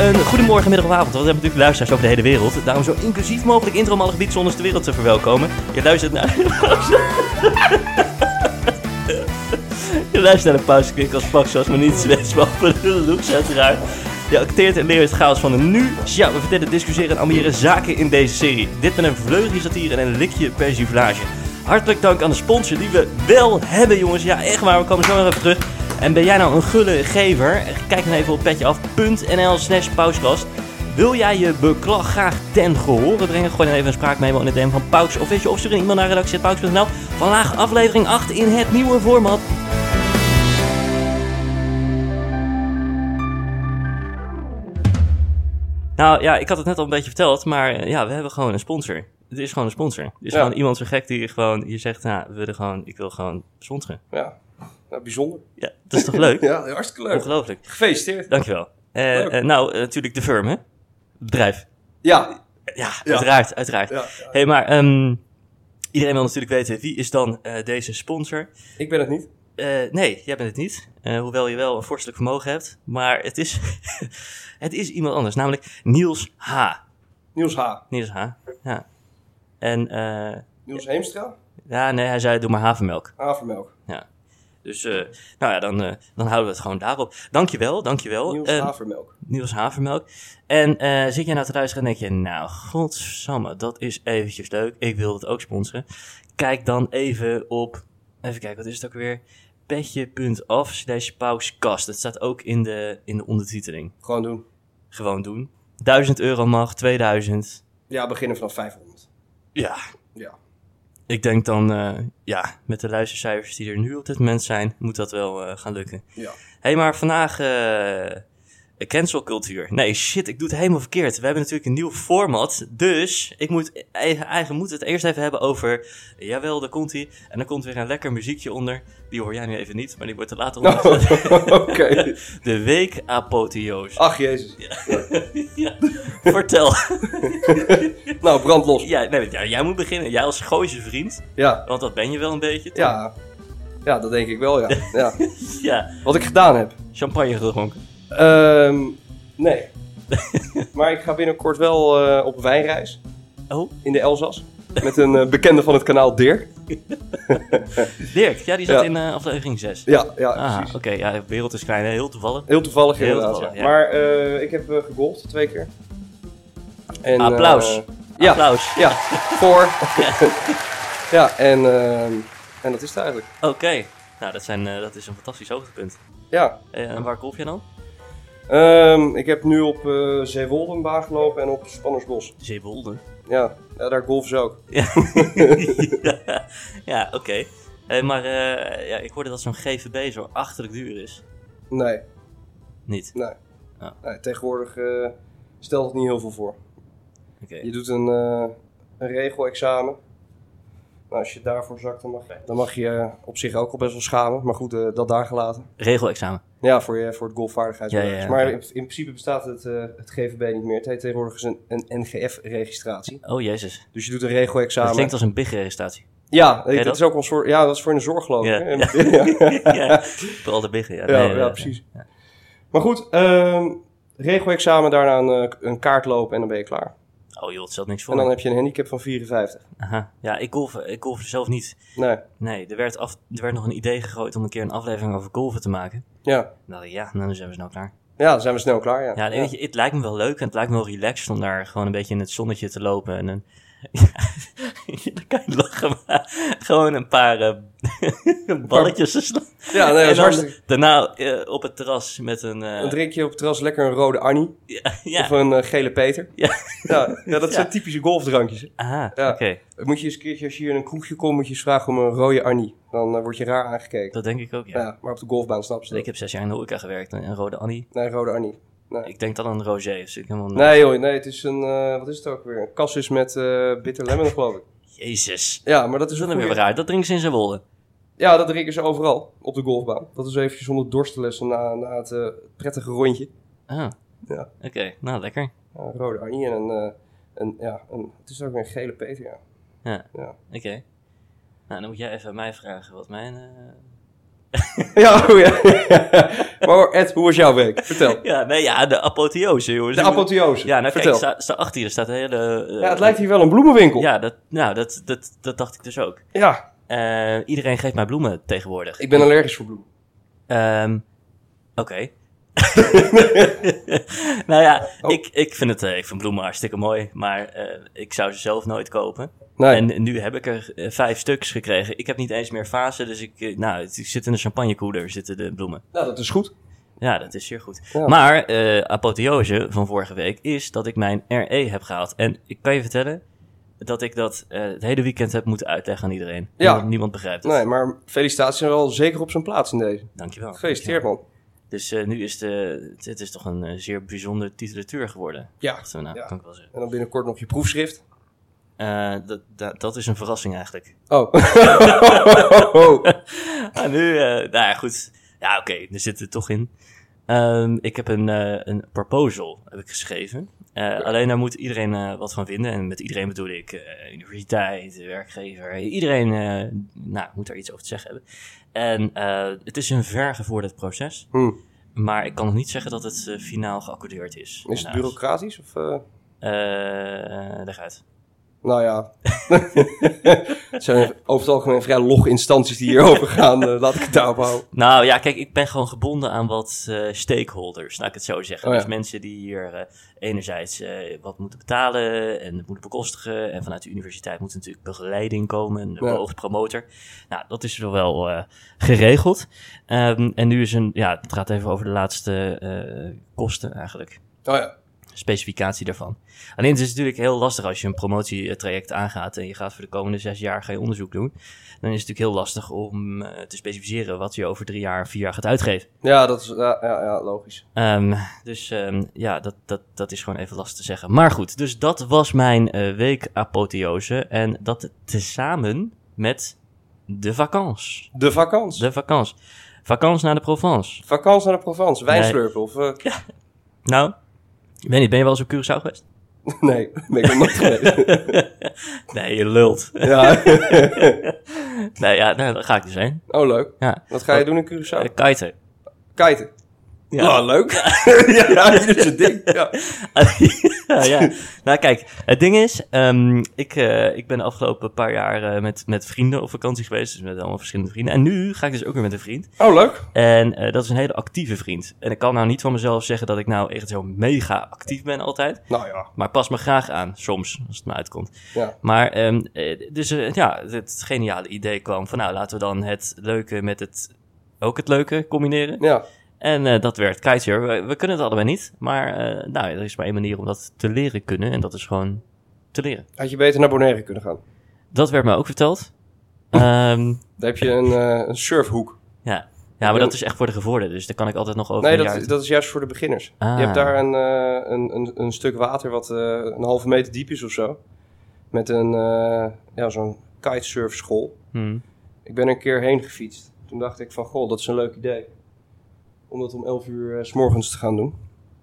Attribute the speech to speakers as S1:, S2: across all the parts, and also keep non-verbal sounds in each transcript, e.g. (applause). S1: Een goedemorgen, middag of avond. Want we hebben natuurlijk luisteraars over de hele wereld. Daarom zo inclusief mogelijk intro om alle gebiedszonders ter wereld te verwelkomen. Je luistert naar... Je luistert naar de pauzekik als pak zoals maar niet zwets, maar voor de looks uiteraard. Je acteert en leert het chaos van de nu. Ja, we vertellen, discussiëren en ambiëren zaken in deze serie. Dit met een vleugje satire en een likje persiflage. Hartelijk dank aan de sponsor die we wel hebben, jongens. Ja, echt waar, we komen zo nog even terug. En ben jij nou een gulle gever? Kijk dan even op petjeaf.nl slash pauskast. Wil jij je beklag graag ten gehore brengen? Gooi dan even een spraakmemo in de DM van Pauks. Of weet je, of stuur een e-mail naar redactie.pauks.nl. Vandaag aflevering 8 in het nieuwe format. Nou ja, ik had het net al een beetje verteld, maar eh, ja, we hebben gewoon een sponsor. Het is gewoon een sponsor. Het is
S2: Ja.
S1: gewoon iemand zo gek die gewoon, je zegt, nou, we willen gewoon, ik wil gewoon sponsoren.
S2: Ja, nou, bijzonder.
S1: Ja, dat is toch leuk?
S2: Ja, hartstikke (laughs) leuk.
S1: Ongelooflijk.
S2: Gefeliciteerd.
S1: Dankjewel. Eh,
S2: Leuk.
S1: eh, nou, eh, natuurlijk de firm, hè? Het Bedrijf.
S2: Ja,
S1: Ja,
S2: Ja.
S1: uiteraard, uiteraard.
S2: ja,
S1: hey, maar ehm, iedereen wil natuurlijk weten, wie is dan eh, deze sponsor?
S2: ik ben het niet.
S1: Eh, nee, jij bent het niet. Eh, hoewel je wel een vorstelijk vermogen hebt. Maar het is, (laughs) het is iemand anders, namelijk Niels H.
S2: Niels H.
S1: Niels H, ja. En, eh,
S2: Niels Heemstra.
S1: ja, nee, hij zei, doe maar havermelk.
S2: Havermelk.
S1: Dus, eh, nou ja, dan, eh, dan houden we het gewoon daarop. Dankjewel, dankjewel.
S2: Niels
S1: Eh,
S2: Havermelk.
S1: Niels Havermelk. En eh, zit jij nou te luisteren en denk je, nou, godsamme, dat is eventjes leuk. Ik wil het ook sponsoren. Kijk dan even op, even kijken, wat is het ook weer? Petje.af slash pauskast. Dat staat ook in de, in de ondertiteling.
S2: Gewoon doen.
S1: Gewoon doen. 1000 euro mag, 2000.
S2: Ja, beginnen vanaf 500.
S1: Ja.
S2: Ja.
S1: Ik denk dan, eh, ja, met de luistercijfers die er nu op dit moment zijn, moet dat wel eh, gaan lukken. Hé,
S2: Ja.
S1: hey, maar vandaag eh cancelcultuur. Nee, shit, ik doe het helemaal verkeerd. We hebben natuurlijk een nieuw format, dus ik moet, eigenlijk moet het eerst even hebben over... Jawel, daar komt hij. En er komt weer een lekker muziekje onder. Die hoor jij nu even niet, maar die wordt er later onder.
S2: (laughs) Nou, Oké.
S1: De week apotheose.
S2: Ach, jezus.
S1: (laughs) Ja, vertel.
S2: (laughs)
S1: (laughs)
S2: Nou, brand los.
S1: ja, nee, ja, jij moet beginnen. Jij als Gooise vriend,
S2: Ja.
S1: want dat ben je wel een beetje. toch?
S2: Ja. Ja, dat denk ik wel, ja. (laughs) ja.
S1: Ja,
S2: Wat ik gedaan heb.
S1: champagne gedronken.
S2: Ehm, nee. Maar ik ga binnenkort wel eh, op wijnreis
S1: (laughs) Oh,
S2: in de Elzas. Met een eh, bekende van het kanaal Dirk.
S1: Dirk, ja, die zat
S2: Ja.
S1: in eh, aflevering 6.
S2: Ja, ja,
S1: Ah,
S2: precies.
S1: oké, ja, de wereld is klein, hè, heel toevallig.
S2: Heel toevallig
S1: Heel
S2: inderdaad.
S1: toevallig,
S2: ja.
S1: ja.
S2: Maar eh, ik heb eh gegolfd twee keer. En,
S1: Applaus.
S2: eh, ja,
S1: Applaus. (laughs)
S2: ja, voor. (laughs) ja, en, ehm, en dat is het eigenlijk.
S1: Oké. Nou, dat, zijn, eh, dat is een fantastisch hoogtepunt.
S2: Ja,
S1: Eh, en waar golf je dan?
S2: Ehm, ik heb nu op eh Zeewolde een baan gelopen en op Spannersbos.
S1: Zeewolde.
S2: Ja, ja, daar golfen ze ook.
S1: ja, (laughs) ja oké. Eh, maar eh, ja, ik hoorde dat zo'n GVB zo achterlijk duur is.
S2: Nee,
S1: Niet.
S2: nee.
S1: Ah.
S2: nee tegenwoordig eh, stelt het niet heel veel voor.
S1: Oké.
S2: Je doet een, eh een regelexamen. Nou, als je daarvoor zakt, dan mag je, dan mag je eh, op zich ook al best wel schamen. Maar goed, eh, dat daar gelaten.
S1: Regelexamen.
S2: Ja, voor, je, voor het golfvaardigheidsbewijs.
S1: Ja, ja, ja.
S2: Maar in, in principe bestaat het, eh, het GVB niet meer. Het heet tegenwoordig dus een, een NGF-registratie.
S1: Oh jezus.
S2: Dus je doet een
S1: Dat
S2: regelexamen.
S1: klinkt als een big
S2: (laughs)
S1: registratie.
S2: Ja,
S1: je
S2: dat
S1: dat?
S2: is ook een soort, ja, dat is voor in de zorg geloof ik.
S1: Ja. (laughs)
S2: hè? (laughs) Ja, ja.
S1: ja, vooral de biggen. Ja, Nee,
S2: ja,
S1: eh,
S2: precies. Maar goed, ehm regelexamen, daarna een, eh, een kaart lopen en dan ben je klaar.
S1: Oh joh, het stelt niks voor.
S2: En dan heb je een handicap van 54.
S1: Aha. Ja, ik golf, ik golf zelf niet.
S2: Nee,
S1: Nee, er werd, af, er werd nog een idee gegooid om een keer een aflevering over golven te maken.
S2: ja.
S1: Nou ja, dan zijn we snel klaar.
S2: Ja, dan zijn we snel klaar, ja.
S1: Ja, nee, weet je, het lijkt me wel leuk en het lijkt me wel relaxed om daar gewoon een beetje in het zonnetje te lopen. En een, (laughs) ja, dan kan je lachen, maar gewoon een paar eh, (laughs) balletjes te slaan.
S2: Ja, nee, dat
S1: (laughs) en
S2: is
S1: dan
S2: hartstikke...
S1: daarna eh, op het terras met een... eh,
S2: Dan drink je op het terras lekker een rode
S1: (laughs)
S2: Annie
S1: ja, ja.
S2: of een eh, gele Peter.
S1: Ja.
S2: ja,
S1: (laughs)
S2: ja, dat
S1: Ja.
S2: zijn typische golfdrankjes. hè.
S1: Aha,
S2: Ja.
S1: Ah, oké.
S2: Moet je eens een keertje, als je hier in een kroegje komt, moet je eens vragen om een rode Annie. Dan eh, word je raar aangekeken.
S1: Dat denk ik ook, ja.
S2: Ja. maar op de golfbaan snap ze
S1: Ik
S2: dat.
S1: heb zes jaar in de horeca gewerkt en een rode Annie.
S2: Nee, rode Annie.
S1: Ik denk dan aan een rosé. Dus ik helemaal...
S2: Nee joh, nee, het is een, eh, wat is het ook weer? Een cassis met eh, bitter lemon geloof ik.
S1: Jezus.
S2: Ja, maar dat
S1: Dat
S2: is
S1: is dan
S2: een
S1: weer
S2: goeie.
S1: raar. Dat drinken ze in zijn wollen.
S2: Ja, dat drinken ze overal op de golfbaan. Dat is eventjes om het dorst te lessen na, na het eh, prettige rondje.
S1: Ah,
S2: Ja.
S1: oké. Nou, lekker.
S2: Ja, een rode Annie en een, eh, een, ja, een, het is ook weer een gele peter, ja. (laughs)
S1: Ja.
S2: Ja.
S1: Oké. Nou, dan moet jij even aan mij vragen wat mijn eh,
S2: ja, oh ja. (laughs) maar Ed, hoe was jouw week?
S1: (laughs)
S2: Vertel.
S1: Ja, nee, ja, de apotheose, jongens.
S2: De apotheose.
S1: Ja, nou
S2: Vertel.
S1: kijk, sta, sta achter je, er staat een hele... eh,
S2: ja, het lijkt hier wel een bloemenwinkel.
S1: Ja, dat, nou, dat, dat, dat dacht ik dus ook.
S2: Ja,
S1: Eh, iedereen geeft mij bloemen tegenwoordig.
S2: ik ben allergisch voor bloemen.
S1: Ehm, Oké. (laughs) nou ja,
S2: Oh.
S1: ik, ik, vind het, eh, ik vind bloemen hartstikke mooi, maar eh, ik zou ze zelf nooit kopen.
S2: Nee.
S1: En nu heb ik er eh, vijf stuks gekregen. Ik heb niet eens meer fase, dus ik, eh, nou, het- ik zit in de champagnekoeler, zitten de bloemen.
S2: Nou, dat is goed.
S1: Ja, dat is zeer goed.
S2: Ja.
S1: Maar eh apotheose van vorige week is dat ik mijn RE heb gehaald. En ik kan je vertellen dat ik dat eh, het hele weekend heb moeten uitleggen aan iedereen.
S2: Ja.
S1: Niemand, niemand begrijpt het.
S2: Nee, maar felicitaties zijn wel zeker op zijn plaats in deze.
S1: Dankjewel.
S2: Gefeliciteerd, man.
S1: Dus eh, nu is de, dit is toch een eh, zeer bijzondere titulatuur geworden.
S2: Ja.
S1: Dachten we, nou,
S2: Ja.
S1: kan ik wel zeggen.
S2: En dan binnenkort nog je proefschrift.
S1: Eh, dat, dat, dat is een verrassing eigenlijk.
S2: Oh. (laughs)
S1: Ah, nu, eh, nou ja, goed. Ja, oké, er zit er toch in. Ehm, ik heb een, eh, een proposal heb ik geschreven. Eh, Alleen daar moet iedereen eh, wat van vinden. En met iedereen bedoel ik eh, universiteit, werkgever. Iedereen eh, nou, moet daar iets over te zeggen hebben. En eh, het is een vergevorderd proces.
S2: Hm.
S1: Maar ik kan nog niet zeggen dat het eh, finaal geaccordeerd is.
S2: Is het
S1: Helaas.
S2: bureaucratisch? Of, eh?
S1: Eh, leg uit.
S2: Nou ja. (laughs) het zijn over het algemeen vrij log instanties die hierover gaan. eh, laat ik het daarop houden.
S1: Nou ja, kijk, ik ben gewoon gebonden aan wat eh, stakeholders, laat ik het zo zeggen.
S2: Oh ja.
S1: Dus mensen die hier eh, enerzijds eh, wat moeten betalen en het moeten bekostigen. En vanuit de universiteit moet natuurlijk begeleiding komen, een
S2: Ja.
S1: beoogd promotor. Nou, dat is er wel eh, geregeld. Ehm, en nu is een, ja, het gaat even over de laatste eh, kosten eigenlijk
S2: Oh ja.
S1: specificatie daarvan. Alleen het is natuurlijk heel lastig als je een promotietraject aangaat en je gaat voor de komende zes jaar ga je onderzoek doen. Dan is het natuurlijk heel lastig om eh, te specificeren wat je over drie jaar, vier jaar gaat uitgeven.
S2: Ja, dat is ja, ja, ja, logisch.
S1: Ehm, dus ehm, ja, dat, dat, dat is gewoon even lastig te zeggen. Maar goed, dus dat was mijn eh week apotheose en dat tezamen met de vakantie.
S2: De vakantie.
S1: De vakantie. Vakantie naar de Provence.
S2: Vakantie naar de Provence. Wijn
S1: Nee.
S2: slurpen of... eh,
S1: Nou, ik weet niet, ben je wel eens op Curaçao geweest?
S2: (laughs) nee, ben ik nog nooit geweest.
S1: Nee, je lult.
S2: (laughs) ja.
S1: Nee, ja, nou, daar ga ik dus heen.
S2: Oh, leuk.
S1: Ja.
S2: Wat ga je doen in Curaçao?
S1: Eh, kiten.
S2: Kiten.
S1: Ja.
S2: Nou, leuk. ja, (laughs) ja, dit is het ding. Ja.
S1: ja, (laughs) ja. Nou, kijk, het ding is, ehm, ik, eh, ik ben de afgelopen paar jaar eh, met, met vrienden op vakantie geweest. Dus met allemaal verschillende vrienden. En nu ga ik dus ook weer met een vriend.
S2: Oh, leuk.
S1: En eh, dat is een hele actieve vriend. En ik kan nou niet van mezelf zeggen dat ik nou echt zo mega actief ben altijd.
S2: Nou ja.
S1: Maar pas me graag aan, soms, als het me uitkomt.
S2: Ja.
S1: Maar, ehm, eh, dus eh, ja, het geniale idee kwam van nou, laten we dan het leuke met het, ook het leuke combineren.
S2: Ja.
S1: En eh, dat werd keizer. We, we kunnen het allebei niet. Maar eh, nou, er is maar één manier om dat te leren kunnen. En dat is gewoon te leren.
S2: Had je beter naar Bonaire kunnen gaan.
S1: Dat werd mij ook verteld.
S2: (laughs)
S1: Ehm,
S2: Daar heb je een, eh, een surfhoek.
S1: ja. ja, maar dat is echt voor de gevorderden. Dus daar kan ik altijd nog over
S2: Nee,
S1: een jaar...
S2: dat, dat is juist voor de beginners.
S1: Ah.
S2: Je hebt daar een, eh, een, een, een stuk water wat eh, een halve meter diep is of zo. Met een, eh, ja, zo'n kitesurfschool.
S1: Hmm.
S2: Ik ben er een keer heen gefietst. Toen dacht ik van, goh, dat is een leuk idee. Om dat om 11 uur eh, s morgens te gaan doen.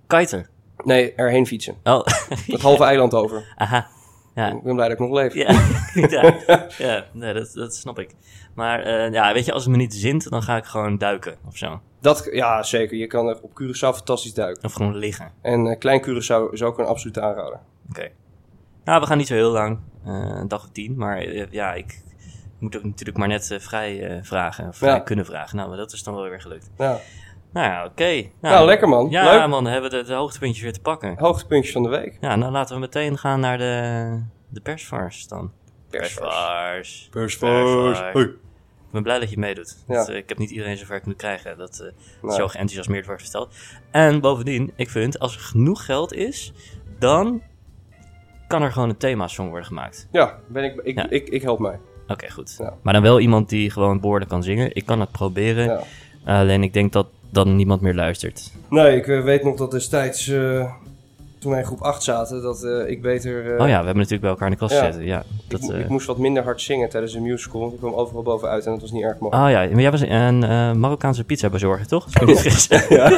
S1: Kiter.
S2: Nee, erheen fietsen.
S1: Oh,
S2: Het halve eiland over.
S1: aha. (laughs)
S2: (laughs)
S1: Ja.
S2: Ik ben blij dat ik nog leef.
S1: Ja, ja, ja nee, dat, dat snap ik. Maar eh, ja, weet je, als het me niet zint, dan ga ik gewoon duiken of zo.
S2: Dat, ja, zeker. Je kan er op Curaçao fantastisch duiken.
S1: Of gewoon liggen.
S2: En eh, Klein Curaçao is ook een absolute aanrader.
S1: Oké. Nou, we gaan niet zo heel lang. eh, een dag of tien. Maar eh, ja, ik moet ook natuurlijk maar net eh, vrij eh, vragen. Of vrij
S2: Ja.
S1: kunnen vragen. Nou, maar dat is dan wel weer gelukt.
S2: Ja.
S1: Nou ja, oké.
S2: Nou, lekker, man.
S1: Ja,
S2: Leuk.
S1: man, dan hebben we de, de hoogtepuntjes weer te pakken.
S2: Hoogtepuntje van de week.
S1: Ja, nou laten we meteen gaan naar de, de persvars dan.
S2: Persvars.
S1: Persvars.
S2: Persvars.
S1: Persvars.
S2: Hoi.
S1: Ik ben blij dat je meedoet.
S2: Ja.
S1: Dat, eh, ik heb niet iedereen zover kunnen krijgen dat eh,
S2: Nee.
S1: zo geenthousiasmeerd wordt verteld. En bovendien, ik vind, als er genoeg geld is, dan kan er gewoon een thema-song worden gemaakt.
S2: Ja, ben ik, ik,
S1: Ja.
S2: Ik, ik help mij.
S1: Oké, goed.
S2: Ja.
S1: Maar dan wel iemand die gewoon behoorlijk kan zingen. Ik kan het proberen.
S2: Ja.
S1: Alleen ik denk dat dan niemand meer luistert.
S2: Nee, ik eh, weet nog dat destijds eh, toen wij in groep 8 zaten, dat eh, ik beter... eh,
S1: Oh ja, we hebben natuurlijk bij elkaar in de klas
S2: Ja.
S1: gezeten. Ja,
S2: ik,
S1: dat,
S2: mo-
S1: eh,
S2: ik moest wat minder hard zingen tijdens de musical. Ik kwam overal bovenuit en dat was niet erg makkelijk.
S1: Oh ja, maar jij was een eh, Marokkaanse pizza bezorger, toch? Als ik me niet (laughs) vergis.
S2: ja,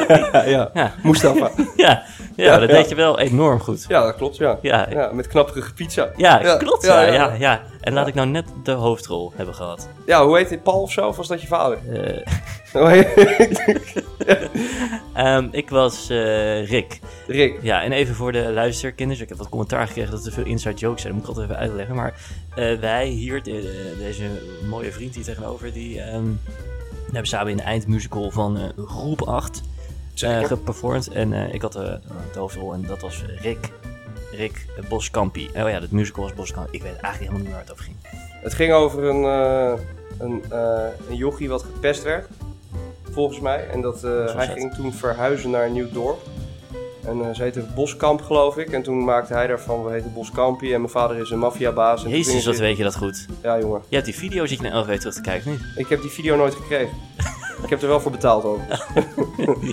S2: ja.
S1: Ja.
S2: Mustafa.
S1: ja, ja, maar dat
S2: ja.
S1: deed je wel enorm goed.
S2: Ja, dat klopt, ja.
S1: Ja, ja,
S2: Ja, met knapperige pizza.
S1: klopt. Ja, ja, ja,
S2: ja.
S1: En laat ik nou net de hoofdrol hebben gehad.
S2: Ja, hoe heet dit? Paul of zo? Of was dat je vader? (laughs)
S1: Eh,
S2: Rick.
S1: ehm, ik was eh, Rick. Ja, en even voor de luisterkinders. Ik heb wat commentaar gekregen dat er veel inside jokes zijn. Dat moet ik altijd even uitleggen. Maar eh, wij hier, de- deze mooie vriend hier tegenover, die ehm, we hebben samen in de eindmusical van eh, groep 8
S2: Zeker.
S1: eh, geperformed. En eh, ik had eh, de hoofdrol en dat was Rick. Rick Boskampi. Oh ja, dat musical was Boskampi. Ik weet eigenlijk helemaal niet waar het over ging.
S2: Het ging over een, eh een, eh, een jochie wat gepest werd, volgens mij. En dat, eh, hij
S1: het.
S2: ging toen verhuizen naar een nieuw dorp. En eh, ze heette Boskamp, geloof ik. En toen maakte hij daarvan, we heten Boskampie. En mijn vader is een maffiabaas. En toen ging
S1: Jezus,
S2: ik-
S1: wat weet je dat goed.
S2: Ja, jongen.
S1: Je hebt die video zit je naar LV terug te kijken, of niet?
S2: Ik heb die video nooit gekregen. ik heb er wel voor betaald over.
S1: (laughs)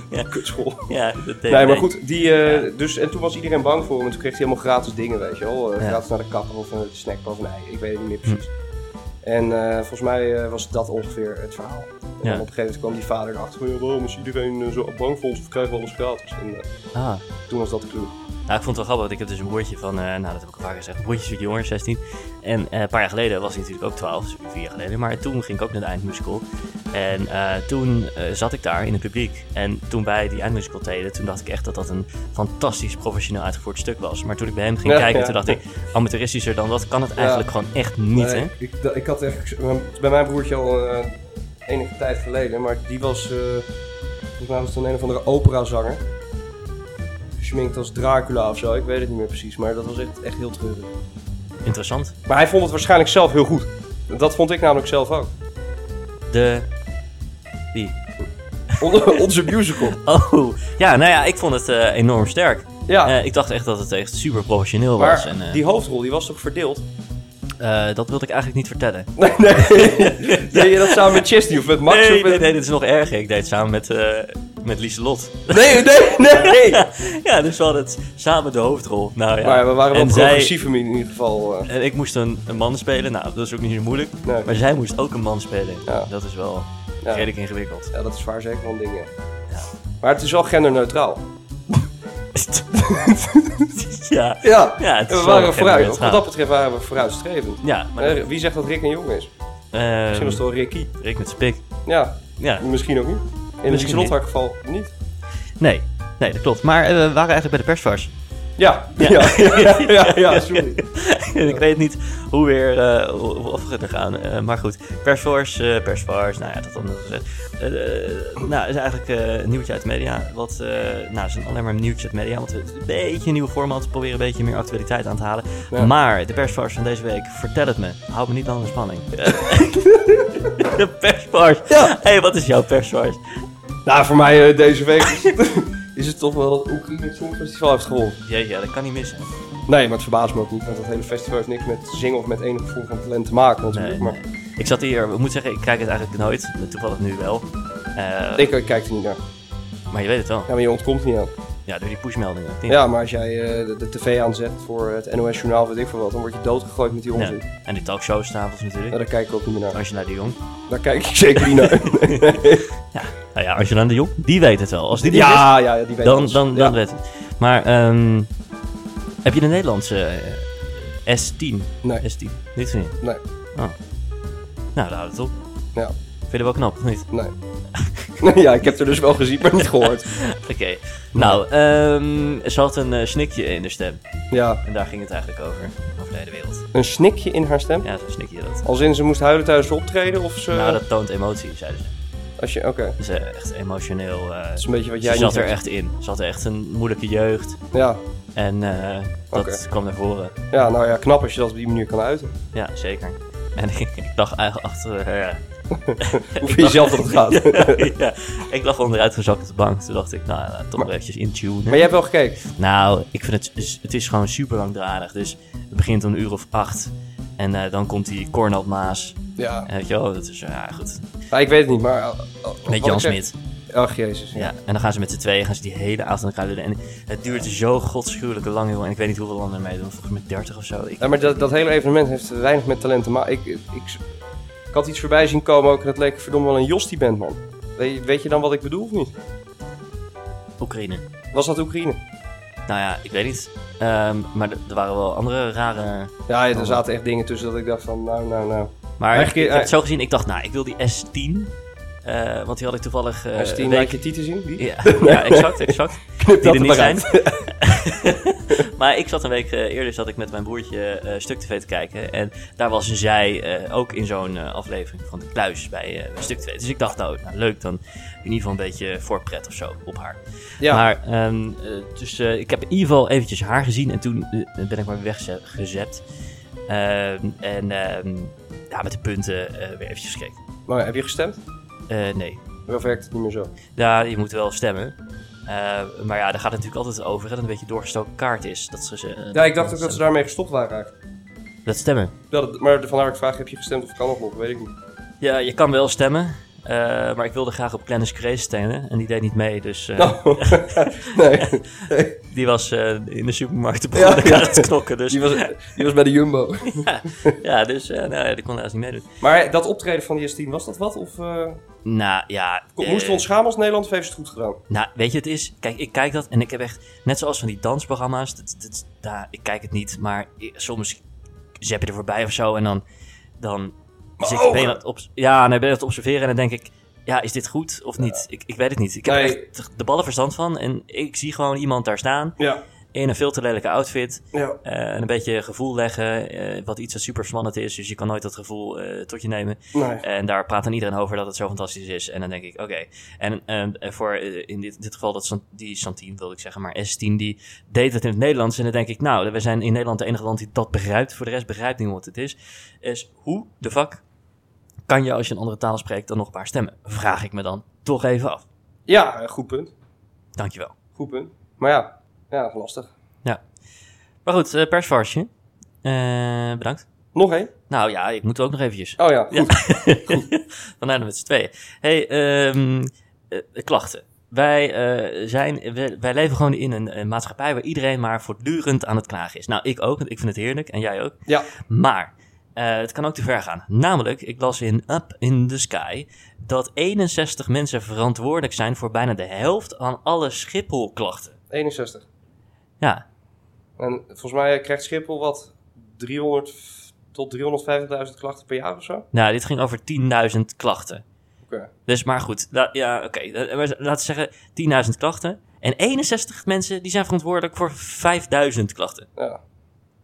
S1: ja,
S2: Kutschool.
S1: ja, dat deed
S2: Nee, maar
S1: deed-
S2: goed. Die, eh, dus, en toen was iedereen bang voor hem. En toen kreeg hij helemaal gratis dingen, weet je wel. Eh,
S1: Ja. Hm.
S2: Gratis naar de kapper of een snackbar of een ei. Ik weet het niet meer precies. En eh, volgens mij eh, was dat ongeveer het verhaal. En
S1: Ja.
S2: op een gegeven moment kwam die vader erachter van... "Ja, waarom is iedereen eh, zo bang voor ons? Of krijgen we alles gratis? En eh,
S1: Ah.
S2: toen was dat de clue.
S1: Nou, ik vond het wel grappig, want ik heb dus een broertje van, eh, nou dat heb ik al vaker gezegd, een broertje is wat jonger, 16. En eh, een paar jaar geleden was hij natuurlijk ook 12, dus vier jaar geleden. Maar toen ging ik ook naar de eindmusical. En eh, toen eh, zat ik daar in het publiek. En toen wij die eindmusical deden, toen dacht ik echt dat dat een fantastisch professioneel uitgevoerd stuk was. Maar toen ik bij hem ging
S2: Ja,
S1: kijken,
S2: ja.
S1: toen dacht ik, amateuristischer dan dat kan het eigenlijk gewoon echt niet,
S2: Nee,
S1: hè?
S2: Ik, da- ik had echt... Het is bij mijn broertje al eh, enige tijd geleden. Maar die was... eh volgens mij was het dan een of andere operazanger. Geschminkt als Dracula of zo. Ik weet het niet meer precies. Maar dat was echt, echt heel treurig.
S1: Interessant.
S2: Maar hij vond het waarschijnlijk zelf heel goed. Dat vond ik namelijk zelf ook.
S1: De... Wie?
S2: (laughs) On- onze musical.
S1: Oh, ja, nou ja, ik vond het eh, enorm sterk.
S2: Ja,
S1: Eh, ik dacht echt dat het echt super professioneel was.
S2: maar
S1: En, eh,
S2: die hoofdrol die was toch verdeeld?
S1: eh, dat wilde ik eigenlijk niet vertellen.
S2: (laughs) Nee, nee. (laughs) Deed je dat samen met Chesney of met Max?
S1: Nee,
S2: of met...
S1: nee, nee, dit is nog erger. Ik deed het samen met, eh met Lieselot.
S2: nee, nee, nee. (laughs)
S1: ja, dus we hadden het samen de hoofdrol. Nou ja,
S2: Maar ja, we waren wel
S1: en zij,
S2: progressief in ieder geval. eh.
S1: En ik moest een, een man spelen. Nou, dat is ook niet zo moeilijk.
S2: Nee.
S1: Maar zij moest ook een man spelen.
S2: Ja.
S1: Dat is wel
S2: Ja.
S1: redelijk ingewikkeld.
S2: (laughs) ja, dat is waar zeker wel een ding. ja.
S1: Ja.
S2: Maar het is wel genderneutraal.
S1: ja.
S2: Ja,
S1: Ja, het is
S2: we
S1: wel
S2: waren vooruit. Wat
S1: genderneutraal.
S2: dat betreft waren we vooruitstrevend.
S1: Ja, maar
S2: Eh, Wie zegt dat Rick een jongen is?
S1: ehm,
S2: Misschien was het wel Ricky.
S1: Rick met spik.
S2: Ja,
S1: Ja,
S2: misschien ook niet. In het
S1: Misschien niet.
S2: Charlotte geval niet.
S1: nee. Nee, dat klopt. Maar eh, we waren eigenlijk bij de persfars.
S2: Ja,
S1: (laughs) Ja.
S2: ja, ja, ja, ja, sorry.
S1: En (laughs) ik weet niet hoe weer eh, hoe- hoe af we het er gaan. eh, maar goed, persforce, eh, persfars, nou ja, dat allemaal gezegd. Eh, eh, nou, is eigenlijk eh, een nieuwtje uit de media. Wat, eh, nou, het is alleen maar een nieuwtje uit de media. Want het is een beetje een nieuwe format. We proberen een beetje meer actualiteit aan te halen.
S2: Ja.
S1: Maar de persfars van deze week, vertel het me. Houd me niet aan de spanning.
S2: (laughs)
S1: (laughs) de persfars.
S2: Ja.
S1: Hé, hey, wat is jouw persfars?
S2: Nou, voor mij eh, deze week is het,
S1: (laughs)
S2: is het toch wel dat Oekraïne het Songfestival heeft gewonnen.
S1: Jeetje, dat kan niet missen.
S2: Nee, maar het verbaast me ook niet, want dat hele festival heeft niks met zingen of met enige vorm van talent te maken natuurlijk.
S1: Nee,
S2: maar
S1: nee. Ik zat hier, ik moet zeggen, ik kijk het eigenlijk nooit. Toevallig nu wel. Eh,
S2: ik, ik kijk er niet naar.
S1: Maar je weet het wel.
S2: Ja, maar je ontkomt niet aan.
S1: Ja, door die pushmeldingen. of niet?
S2: Ja, maar als jij eh, de, de tv aanzet voor het NOS Journaal, weet ik veel wat, dan word je doodgegooid met die
S1: Ja.
S2: onzin.
S1: En die talkshows s'avonds natuurlijk.
S2: Nou, daar kijk ik ook niet meer naar.
S1: Angela de Jong.
S2: Daar kijk ik
S1: (laughs)
S2: zeker niet naar.
S1: Nou ja, Angela de Jong, die weet het wel. Als die het
S2: ja, ja, ja, die
S1: weet,
S2: weet
S1: dan,
S2: alles.
S1: dan,
S2: Ja.
S1: dan weet het. Maar ehm, heb je de Nederlandse eh, S10?
S2: Nee,
S1: S10, niet zo niet.
S2: nee,
S1: Nou, daar houdt het op.
S2: Ja.
S1: Vind je wel knap, of niet?
S2: nee. (laughs) ja, ik heb er dus wel gezien, maar niet gehoord.
S1: (laughs) Oké. Nou, ehm, ze had een eh, snikje in de stem.
S2: Ja,
S1: En daar ging het eigenlijk over. Over de hele wereld.
S2: een snikje in haar stem.
S1: Ja, zo'n snikje dat.
S2: Als in ze moest huilen tijdens het optreden of ze...
S1: Nou, dat toont emotie, zeiden ze.
S2: Als je, oké, dat
S1: Ze is echt emotioneel. eh,
S2: is een beetje wat jij
S1: ze
S2: niet
S1: zat er
S2: hebt.
S1: echt in. Ze had echt een moeilijke jeugd.
S2: Ja,
S1: En eh, dat
S2: Oké.
S1: kwam naar voren.
S2: Ja, nou ja, knap als je dat op die manier kan uiten.
S1: (laughs) Ja, zeker. En (laughs) ik, ik lag eigenlijk achter. eh, ja.
S2: Hoe vind je zelf dat het gaat?
S1: (laughs) ja, ik lag onderuitgezakt op de bank. Toen dacht ik, nou, laat toch
S2: Maar-
S1: maar eventjes intunen.
S2: Maar jij hebt wel gekeken.
S1: Nou, ik vind het, het is gewoon super langdradig. Dus het begint om een uur of acht. En eh, dan komt die Cornel Maas.
S2: Ja.
S1: En weet je wel, dat is, ja, goed.
S2: Nou, ik weet het niet, maar... eh, eh, wat
S1: Met
S2: ik
S1: Jan
S2: zeg-
S1: Smit.
S2: Ach, jezus.
S1: Ja, en dan gaan ze met z'n tweeën gaan ze die hele avond aan elkaar lullen. En het duurt zo godschuwelijk lang, joh. En ik weet niet hoeveel landen er meedoen. Volgens mij 30 of zo. Ik,
S2: Ja, maar dat, dat hele evenement heeft weinig met talent te maken. Ik, ik, ik had iets voorbij zien komen ook, dat leek verdomme wel een Jostie-band, man. Weet, je- weet je dan wat ik bedoel of niet?
S1: Oekraïne.
S2: Was dat Oekraïne?
S1: Nou ja, ik weet niet. Ehm, maar er er waren wel andere rare...
S2: Ja,
S1: Oh.
S2: ja, er zaten echt dingen tussen dat ik dacht van, nou, nou, nou.
S1: Maar
S2: Eigenlijk-
S1: ik heb het zo gezien. Ik dacht, nou, ik wil die S10. eh, want die had ik toevallig... eh,
S2: Als je die
S1: een
S2: laat
S1: week-
S2: je tieten zien, die
S1: Ja, ja, (laughs) exact, exact.
S2: (laughs) knip
S1: die
S2: dat
S1: er
S2: er
S1: niet
S2: maar
S1: zijn.
S2: uit. (laughs)
S1: maar ik zat een week eh, eerder zat ik met mijn broertje eh Stuk TV te kijken. En daar was zij eh, ook in zo'n eh, aflevering van de kluis bij eh, bij Stuk TV. Dus ik dacht, nou, nou, leuk dan. In ieder geval een beetje voorpret of zo op haar.
S2: Ja,
S1: Maar, ehm, eh, dus eh, ik heb in ieder geval eventjes haar gezien en toen eh, ben ik maar weggezept. Ehm, en ehm, ja, met de punten eh, weer eventjes gekeken.
S2: maar heb je gestemd?
S1: Eh, nee,
S2: Wel werkt het niet meer zo.
S1: ja, je moet wel stemmen. Eh, maar ja, daar gaat het natuurlijk altijd over hè, dat het een beetje doorgestoken kaart is. Dat ze, ze, eh,
S2: Ja, ik dacht ook dat ze
S1: dat...
S2: daarmee gestopt waren eigenlijk.
S1: stemmen.
S2: Ja, dat- maar vandaar ik vraag, heb je gestemd of kan nog nog? Weet ik niet.
S1: Ja, je kan wel stemmen. eh, maar ik wilde graag op Glennis Grace stemmen en die deed niet mee. Dus eh,
S2: (laughs) Oh, nee.
S1: die was eh, in de supermarkt te begonnen
S2: ja.
S1: aan het knokken. Dus,
S2: Die was, die was bij de Jumbo.
S1: (laughs) ja, dus eh, nou, ja, die kon helaas niet meedoen.
S2: Maar dat optreden van die S10, was dat wat? Of eh,
S1: Nou ja.
S2: ko-
S1: eh,
S2: moesten we ons schamen als Nederland of heeft ze het goed gedaan?
S1: Nou, weet je, het is. Kijk, ik kijk dat en ik heb echt. Net zoals van die dansprogramma's. Dat, dat, daar, ik kijk het niet, maar i- soms zap je er voorbij of zo. En dan. dan
S2: Mijn
S1: zit ik ben je
S2: ogen!
S1: aan het op, ja, nee, ben je aan het observeren. En dan denk ik. Ja, is dit goed of niet? Ik, ik weet het niet. Ik heb
S2: Nee.
S1: echt de ballen verstand van. En ik zie gewoon iemand daar staan.
S2: Ja.
S1: In een veel te lelijke outfit.
S2: ja.
S1: eh, en een beetje gevoel leggen. eh, wat iets wat super spannend is. Dus je kan nooit dat gevoel eh, tot je nemen.
S2: Nee.
S1: En daar praat dan iedereen over dat het zo fantastisch is. En dan denk ik, oké. En, en, en voor eh, in dit, dit geval dat Sant- die Santien wilde ik zeggen, maar S10 die deed het in het Nederlands. En dan denk ik, nou, we zijn in Nederland het enige land die dat begrijpt. Voor de rest begrijpt niemand wat het is. Is hoe de fuck kan je als je een andere taal spreekt dan nog een paar stemmen? Vraag ik me dan toch even af.
S2: Ja, eh, goed punt.
S1: Dankjewel.
S2: Goed punt. Maar ja, ja dat is lastig.
S1: Maar goed, eh persvarsje. Eh, bedankt.
S2: Nog één?
S1: Nou ja, ik moet ook nog eventjes.
S2: Oh ja, goed.
S1: (laughs) Vandaar dat we met z'n tweeën. hey, ehm, eh, klachten. Wij, eh, zijn, wij, wij leven gewoon in een, eh, maatschappij waar iedereen maar voortdurend aan het klagen is. Nou, ik ook, want ik vind het heerlijk en jij ook.
S2: Ja.
S1: Maar eh, het kan ook te ver gaan. Namelijk, ik las in Up in the Sky dat 61 mensen verantwoordelijk zijn voor bijna de helft aan alle Schiphol-klachten.
S2: 61.
S1: Ja,
S2: En volgens mij eh, krijgt Schiphol wat 300 tot 350.000 klachten per jaar of zo.
S1: nou, dit ging over 10.000 klachten.
S2: Oké.
S1: Dus, maar goed, la- ja, oké. eh, maar Laten we zeggen 10.000 klachten. En 61 mensen die zijn verantwoordelijk voor 5.000 klachten.
S2: Ja.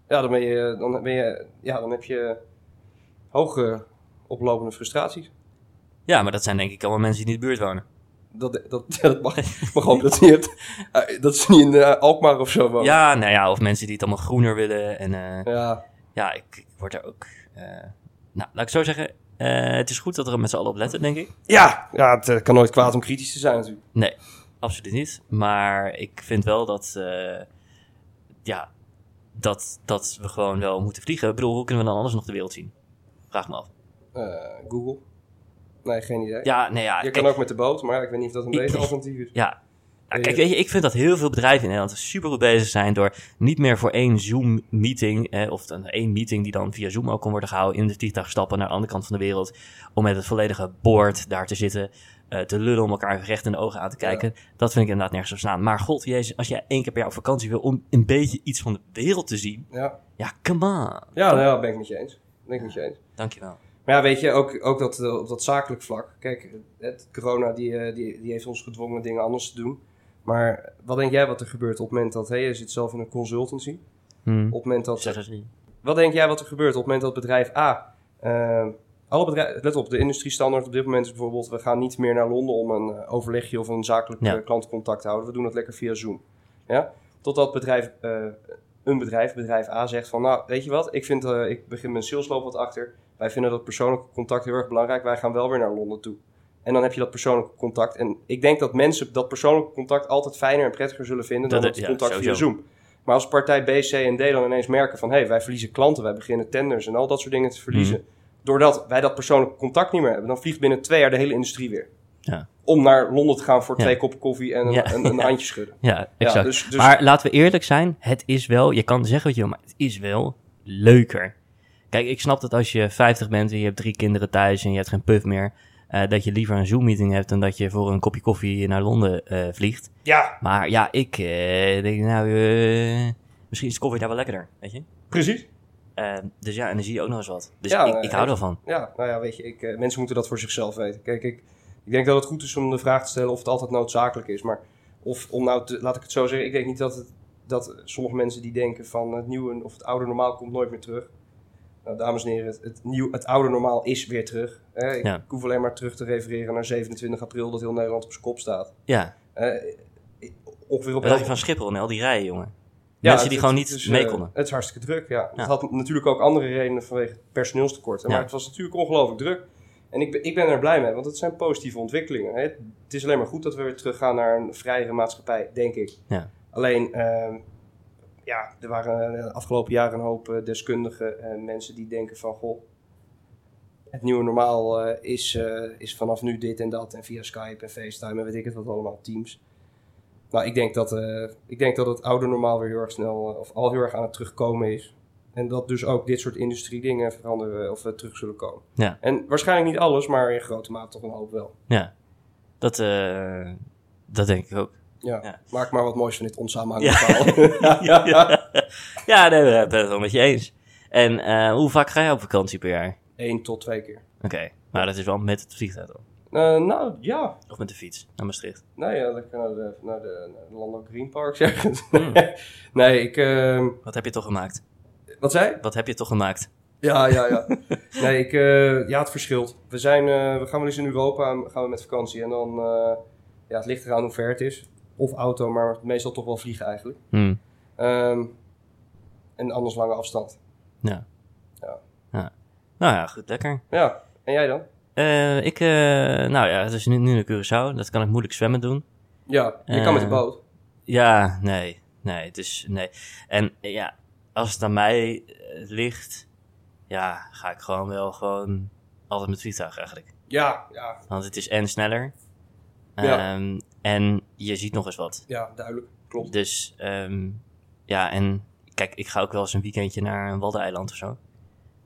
S2: Ja, dan ben je, dan ben je, ja, dan heb je hoge oplopende frustraties.
S1: Ja, maar dat zijn denk ik allemaal mensen die in de buurt wonen.
S2: Dat, dat, (laughs) ja, dat mag, mag hopen dat ze niet, eh, dat ze niet in eh, Alkmaar of zo wonen.
S1: Ja, nou ja, of mensen die het allemaal groener willen. En eh,
S2: Ja.
S1: ja, ik, ik word daar ook... eh, nou, laat ik zo zeggen, eh, het is goed dat we er met z'n allen op letten, denk ik.
S2: Ja, ja het eh, kan nooit kwaad om kritisch te zijn natuurlijk.
S1: Nee, absoluut niet. Maar ik vind wel dat, eh, ja, dat, dat we gewoon wel moeten vliegen. Ik bedoel, hoe kunnen we dan anders nog de wereld zien? Vraag me af.
S2: Eh, Google. Nee, geen idee.
S1: Ja, nee, ja.
S2: je
S1: kijk-
S2: kan ook met de boot, maar ik weet niet of dat een
S1: Ik-
S2: beter alternatief is.
S1: Ja. Ja,
S2: Eh,
S1: kijk, weet je, ik vind dat heel veel bedrijven in Nederland super goed bezig zijn door niet meer voor één Zoom-meeting, eh, of dan één meeting die dan via Zoom ook kan worden gehouden, in de vliegtuig stappen naar de andere kant van de wereld, om met het volledige board daar te zitten, eh, te lullen, om elkaar recht in de ogen aan te kijken. Dat vind ik inderdaad nergens op staan. Maar god, jezus, als jij één keer per jaar op vakantie wil om een beetje iets van de wereld te zien,
S2: Ja,
S1: ja, come on.
S2: ja nou, ja, ben ik met je eens. Ben ik met je eens.
S1: Dankjewel.
S2: Maar ja, weet je, ook, ook dat, eh, op dat zakelijk vlak. Kijk, het, corona die, eh, die, die heeft ons gedwongen dingen anders te doen. Maar wat denk jij wat er gebeurt op het moment dat... Hé, je zit zelf in een consultancy.
S1: Hm.
S2: Op het moment dat...
S1: Zeggen ze niet.
S2: Wat denk jij wat er gebeurt op het moment dat bedrijf A... eh, alle bedrijven, let op, de industriestandaard op dit moment is bijvoorbeeld... we gaan niet meer naar Londen om een eh, overlegje of een zakelijk
S1: Ja.
S2: eh, klantcontact te houden. We doen dat lekker via Zoom. Ja? Totdat bedrijf, eh, een bedrijf, bedrijf A, zegt van... nou, weet je wat, ik, vind, eh, ik begin mijn salesloop wat achter. Wij vinden dat persoonlijke contact heel erg belangrijk. Wij gaan wel weer naar Londen toe. En dan heb je dat persoonlijke contact. En ik denk dat mensen dat persoonlijke contact altijd fijner en prettiger zullen vinden...
S1: Dat
S2: dan
S1: is-
S2: het
S1: ja,
S2: contact via
S1: sowieso.
S2: Zoom. Maar als partij B, C en D dan ineens merken van... hé, hey, wij verliezen klanten, wij beginnen tenders en al
S1: Mhm.
S2: dat soort dingen te verliezen... doordat wij dat persoonlijke contact niet meer hebben... dan vliegt binnen twee jaar de hele industrie weer.
S1: Ja.
S2: Om naar Londen te gaan voor
S1: Ja.
S2: twee koppen koffie en een,
S1: Ja.
S2: een, een
S1: Ja.
S2: handje schudden.
S1: Ja, exact.
S2: dus- dus-
S1: Maar laten we eerlijk zijn, het is wel, je kan zeggen wat je wil, maar het is wel leuker. Kijk, ik snap dat als je 50 bent en je hebt drie kinderen thuis en je hebt geen puff meer, eh, dat je liever een Zoom-meeting hebt dan dat je voor een kopje koffie naar Londen eh, vliegt.
S2: Ja,
S1: Maar ja, ik eh, denk nou, eh, misschien is de koffie daar wel lekkerder, weet je?
S2: precies.
S1: Eh, dus ja, en dan zie je ook nog eens wat. Dus
S2: Ja,
S1: ik,
S2: eh,
S1: ik hou ervan.
S2: Ja, nou ja, weet je, ik, eh, mensen moeten dat voor zichzelf weten. Kijk, ik, ik denk dat het goed is om de vraag te stellen of het altijd noodzakelijk is. Maar of om nou, te, laat ik het zo zeggen, ik denk niet dat, het, dat sommige mensen die denken van het nieuwe of het oude normaal komt nooit meer terug. Nou, dames en heren, het, het, nieuw, het oude normaal is weer terug. hè. ik,
S1: Ja.
S2: ik hoef alleen maar terug te refereren naar 27 april dat heel Nederland op zijn kop staat.
S1: Ja,
S2: Eh, eh, ongeveer op
S1: wat dacht je
S2: elke-
S1: van Schiphol en al die rijen, jongen?
S2: ja,
S1: Mensen
S2: het-
S1: die gewoon
S2: het
S1: niet
S2: is, eh,
S1: mee konden.
S2: Het is hartstikke druk, ja.
S1: Ja.
S2: Het had natuurlijk ook andere redenen vanwege het personeelstekort. hè, Maar
S1: Ja.
S2: het was natuurlijk ongelooflijk druk. En ik ben, ik ben er blij mee, want het zijn positieve ontwikkelingen. hè. Het is alleen maar goed dat we weer teruggaan naar een vrijere maatschappij, denk ik.
S1: Ja.
S2: Alleen, ehm, ja, er waren eh, de afgelopen jaren een hoop eh, deskundigen en mensen die denken van... Goh, het nieuwe normaal eh, is, eh, is vanaf nu dit en dat en via Skype en FaceTime en weet ik het wat allemaal, Teams. Nou, ik denk dat, eh, ik denk dat het oude normaal weer heel erg snel, eh, of al heel erg aan het terugkomen is. En dat dus ook dit soort industriedingen veranderen of eh, terug zullen komen.
S1: Ja.
S2: En waarschijnlijk niet alles, maar in grote mate toch een hoop wel.
S1: Ja, dat, eh, dat denk ik ook.
S2: Ja.
S1: Ja.
S2: Maak maar wat moois van dit onsamenhangende
S1: Ja. (laughs)
S2: verhaal.
S1: ja, ja nee, we ben het wel met je eens. En eh, hoe vaak ga je op vakantie per jaar?
S2: Eén tot twee keer.
S1: Oké, maar dat is wel met het vliegtuig dan.
S2: Eh, nou, ja.
S1: Of met de fiets naar Maastricht.
S2: Nou ja, lekker naar de, naar de, naar de Landal Green Parks ergens.
S1: Hmm.
S2: (laughs) nee, ik... ehm,
S1: Wat heb je toch gemaakt?
S2: wat zei je?
S1: Wat heb je toch gemaakt?
S2: Ja, ja, ja. (laughs) Nee, ik, eh, ja, het verschilt. We, zijn, eh, we gaan wel eens in Europa en gaan we met vakantie. En dan, eh, ja, het ligt eraan hoe ver het is. Of auto, maar meestal toch wel vliegen eigenlijk.
S1: Hm,
S2: Ehm, en anders lange afstand.
S1: ja.
S2: Ja.
S1: ja. Nou ja, goed, lekker.
S2: Ja, en jij dan?
S1: Eh, ik, eh, nou ja, het is nu, nu naar Curaçao. Dat kan ik moeilijk zwemmen doen.
S2: Ja, je
S1: Eh,
S2: kan met de boot.
S1: Ja, nee. Nee, het is... Nee. En eh, ja, als het aan mij eh, ligt... Ja, ga ik gewoon wel gewoon... Altijd met vliegtuig eigenlijk.
S2: Ja, ja,
S1: Want het is en sneller.
S2: Ja.
S1: ehm, en je ziet nog eens wat.
S2: ja, duidelijk. Klopt.
S1: Dus ehm, ja, en kijk, ik ga ook wel eens een weekendje naar een waddeneiland of zo.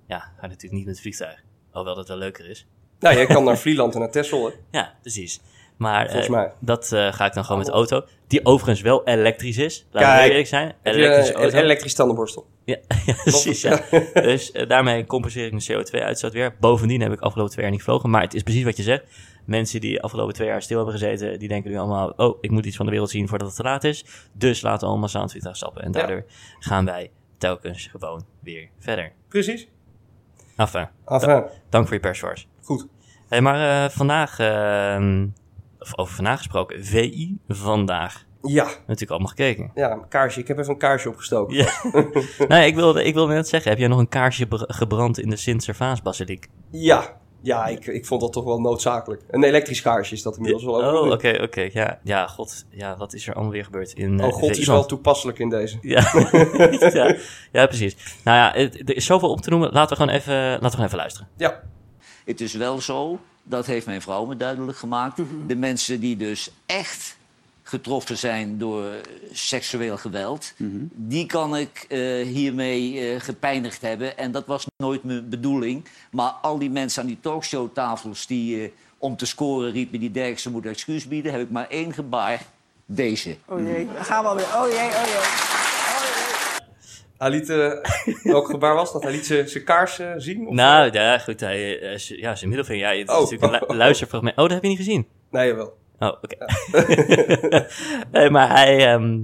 S1: Ja, ga natuurlijk niet met het vliegtuig. Hoewel dat wel leuker is.
S2: Nou, jij kan naar Vlieland en naar Texel, hè?
S1: Ja, precies. Maar
S2: Volgens
S1: eh,
S2: mij.
S1: dat eh, ga ik dan gewoon met de auto. Die overigens wel elektrisch is. Laten we
S2: Kijk.
S1: eerlijk zijn.
S2: Heb je,
S1: Elektrische
S2: eh,
S1: auto.
S2: een elektrisch tandenborstel.
S1: ja, (laughs) ja, precies. Ja. Dus eh, daarmee compenseer ik mijn CO2-uitstoot weer. Bovendien heb ik afgelopen twee jaar niet gevlogen. Maar het is precies wat je zegt. Mensen die afgelopen twee jaar stil hebben gezeten, die denken nu allemaal: oh, ik moet iets van de wereld zien voordat het te laat is. Dus laten we allemaal samen het vliegtuig stappen. En
S2: Ja.
S1: daardoor gaan wij telkens gewoon weer verder.
S2: Precies.
S1: Enfin,
S2: Enfin,
S1: dank voor je perswars.
S2: goed.
S1: Hey, maar eh, vandaag, ehm, of over vandaag gesproken, VI vandaag.
S2: Ja,
S1: Natuurlijk allemaal
S2: (laughs)
S1: gekeken.
S2: ja, een kaarsje. Ik heb even een kaarsje opgestoken.
S1: Ja. nee, ik wilde, ik wilde net zeggen, heb jij nog een kaarsje br- gebrand in de Sint-Servaas-basiliek?
S2: Ja, ja ik, ik vond dat toch wel noodzakelijk. Een elektrisch kaarsje is dat inmiddels wel
S1: Oh,
S2: ook.
S1: oké, oké. Ja, ja, god. Ja, wat is er allemaal weer gebeurd in eh,
S2: Oh god, is wel
S1: Zeeland?
S2: toepasselijk in deze.
S1: (laughs) Ja. (laughs) ja, ja, precies. Nou ja, het- er is zoveel op te noemen. Laten we gewoon even, laten we gewoon even luisteren.
S2: Ja,
S3: Het is wel zo, dat heeft mijn vrouw me duidelijk gemaakt. De mensen die dus echt getroffen zijn door seksueel geweld, die kan ik eh, hiermee eh, gepijnigd hebben. En dat was nooit mijn bedoeling. Maar al die mensen aan die talkshowtafels die eh, om te scoren riepen, die Derksen moet excuus bieden, heb ik maar één gebaar. Deze.
S4: Oh jee, daar gaan we alweer. Oh jee, oh jee.
S2: hij liet, (laughs) eh, welk gebaar was dat? Hij liet ze- zijn kaars eh, zien? Of?
S1: Nou, ja, goed. Hij, eh, is- ja, zijn middelvinger. Ja, het is
S2: Oh.
S1: natuurlijk een
S2: (laughs)
S1: lu- luisterfragment. Oh, dat heb je niet gezien?
S2: Nee, jawel.
S1: Oh, oké. (laughs) nee, maar hij... ehm,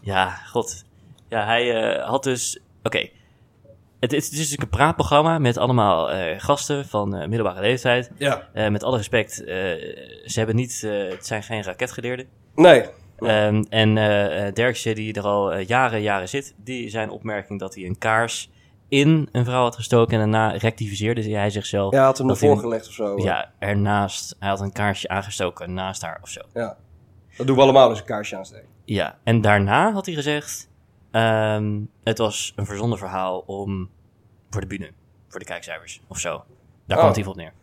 S1: ja, god. Ja, hij eh, had dus... Oké. Het, is- het is natuurlijk een praatprogramma met allemaal eh, gasten van eh, middelbare leeftijd.
S2: Ja.
S1: Eh, met alle respect, eh, ze hebben niet, eh, het zijn geen raketgeleerden.
S2: Nee.
S1: Ehm, en eh eh, Derksen, die er al eh, jaren, jaren zit, die zijn opmerking dat hij een kaars in een vrouw had gestoken en daarna rectificeerde hij zichzelf.
S2: Ja, hij had hem
S1: dat
S2: ervoor
S1: hij-
S2: gelegd of zo.
S1: Ja, ernaast, hij had een kaarsje aangestoken naast haar of zo.
S2: Ja. Dat doen we allemaal dus een kaarsje aansteken. (laughs)
S1: Ja, en daarna had hij gezegd, ehm, het was een verzonnen verhaal om, voor de bühne, voor de kijkcijfers of zo. Daar kwam
S2: Oh.
S1: het in ieder geval op neer. (laughs)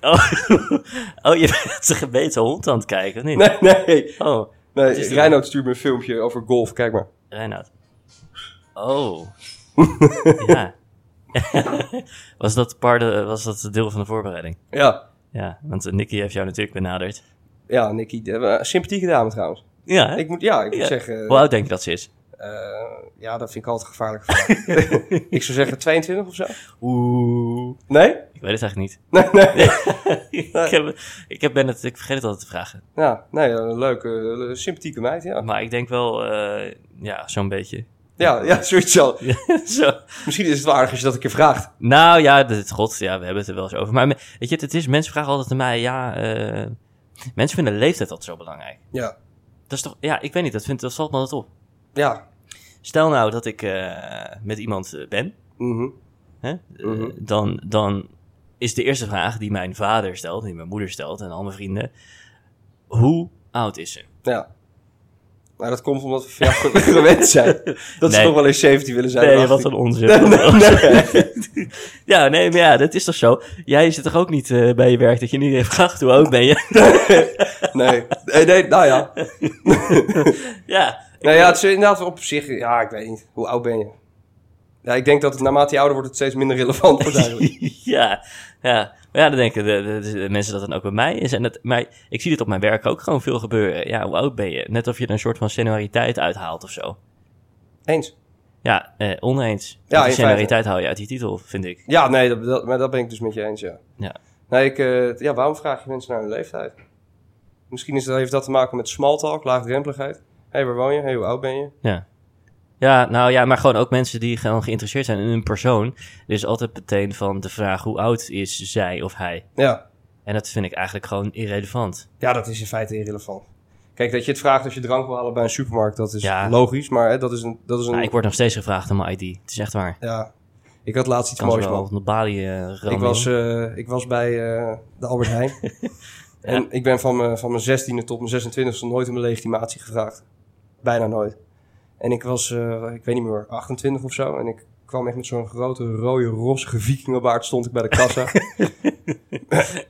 S1: Oh, (laughs) oh je bent zijn gebeten hond aan het kijken, of niet?
S2: Nee, nee.
S1: Oh,
S2: nee
S1: is er?
S2: Reinoud stuurt me een filmpje over golf, kijk maar.
S1: Reinhard. Oh.
S2: (laughs)
S1: ja. (laughs) was, dat part, eh, was dat deel van de voorbereiding?
S2: Ja,
S1: Ja, want eh, Nicky heeft jou natuurlijk benaderd.
S2: ja Nicky, eh, sympathieke dame trouwens.
S1: Ja, hè?
S2: Ik moet, ja, ik moet
S1: Ja.
S2: zeggen,
S1: Hoe oud denk je dat ze is?
S2: eh, ja, dat vind ik altijd (laughs) gevaarlijk. ik zou zeggen 22 of zo.
S1: Oeh.
S2: Nee?
S1: Ik weet het eigenlijk niet.
S2: (laughs)
S1: (laughs)
S2: Nee, nee.
S1: ik, heb, ik, heb ben het, ik vergeet het altijd te vragen.
S2: Ja, nee, een leuke, eh, sympathieke meid, ja.
S1: Maar ik denk wel, eh, ja, zo'n beetje. (laughs)
S2: Ja, ja, zoiets zo.
S1: Zo.
S2: Misschien is het wel aardig als je dat een keer vraagt.
S1: Nou ja, dit, god, ja, we hebben het er wel eens over. Maar me- weet je, het is, mensen vragen altijd aan mij, ja, eh, mensen vinden leeftijd altijd zo belangrijk.
S2: Ja.
S1: Dat is toch, ja, ik weet niet, dat, vindt, dat valt me altijd op.
S2: Ja.
S1: Stel nou dat ik eh, met iemand eh, ben,
S2: Mhm.
S1: hè, eh,
S2: Mhm.
S1: dan, dan is de eerste vraag die mijn vader stelt, die mijn moeder stelt en al mijn vrienden, hoe oud is ze?
S2: Ja. Maar dat komt omdat we van jou (laughs) ge- gewend zijn. Dat ze
S1: Nee.
S2: toch wel eens 17 willen zijn.
S1: Nee,
S2: of
S1: wat
S2: 18.
S1: een onzin.
S2: (laughs) Nee, nee.
S1: (laughs) Ja, nee, maar ja, dat is toch zo. Jij zit toch ook niet eh, bij je werk dat je niet even vraagt hoe oud ben je? (laughs)
S2: Nee. nee, nee, nou ja.
S1: ja,
S2: Nou ja, het is inderdaad op zich, ja, ik weet niet. Hoe oud ben je? Ja, ik denk dat het, naarmate je ouder wordt, het steeds minder relevant wordt
S1: (laughs)
S2: eigenlijk.
S1: ja, ja. Maar ja, dan denken de, de- de mensen dat dan ook bij mij is. En dat, maar ik zie dit op mijn werk ook gewoon veel gebeuren. Ja, hoe oud ben je? Net of je er een soort van senioriteit uithaalt of zo.
S2: Eens.
S1: Ja, eh, oneens.
S2: Ja,
S1: Ja, die
S2: in
S1: senioriteit haal je uit die titel, vind ik.
S2: Ja, nee, dat, dat, maar dat ben ik dus met je eens, ja.
S1: Ja.
S2: Nee, ik, eh, ja, waarom vraag je mensen naar hun leeftijd? Misschien is dat, heeft dat te maken met smalltalk, laagdrempeligheid. hey, waar woon je? hey, hoe oud ben je?
S1: Ja. Ja, nou ja, maar gewoon ook mensen die gewoon geïnteresseerd zijn in hun persoon. Er is altijd meteen van de vraag hoe oud is zij of hij.
S2: Ja.
S1: En dat vind ik eigenlijk gewoon irrelevant.
S2: Ja, dat is in feite irrelevant. Kijk, dat je het vraagt als je drank wil halen bij een supermarkt, dat is
S1: Ja.
S2: logisch. Maar hè, dat is een... Dat is een
S1: Maar Ah, ik word nog steeds gevraagd om mijn ID. Het is echt waar.
S2: Ja, ik had laatst iets
S1: Kan ze
S2: moois,
S1: wel
S2: man.
S1: op de balie eh rammen.
S2: Ik was, eh, ik was bij eh, de Albert Heijn. En ik ben van mijn, van mijn 16e tot mijn 26e nooit om mijn legitimatie gevraagd. Bijna nooit. En ik was, eh, ik weet niet meer, 28 of zo. En ik kwam echt met zo'n grote, rode, rossige vikingenbaard stond ik bij de kassa.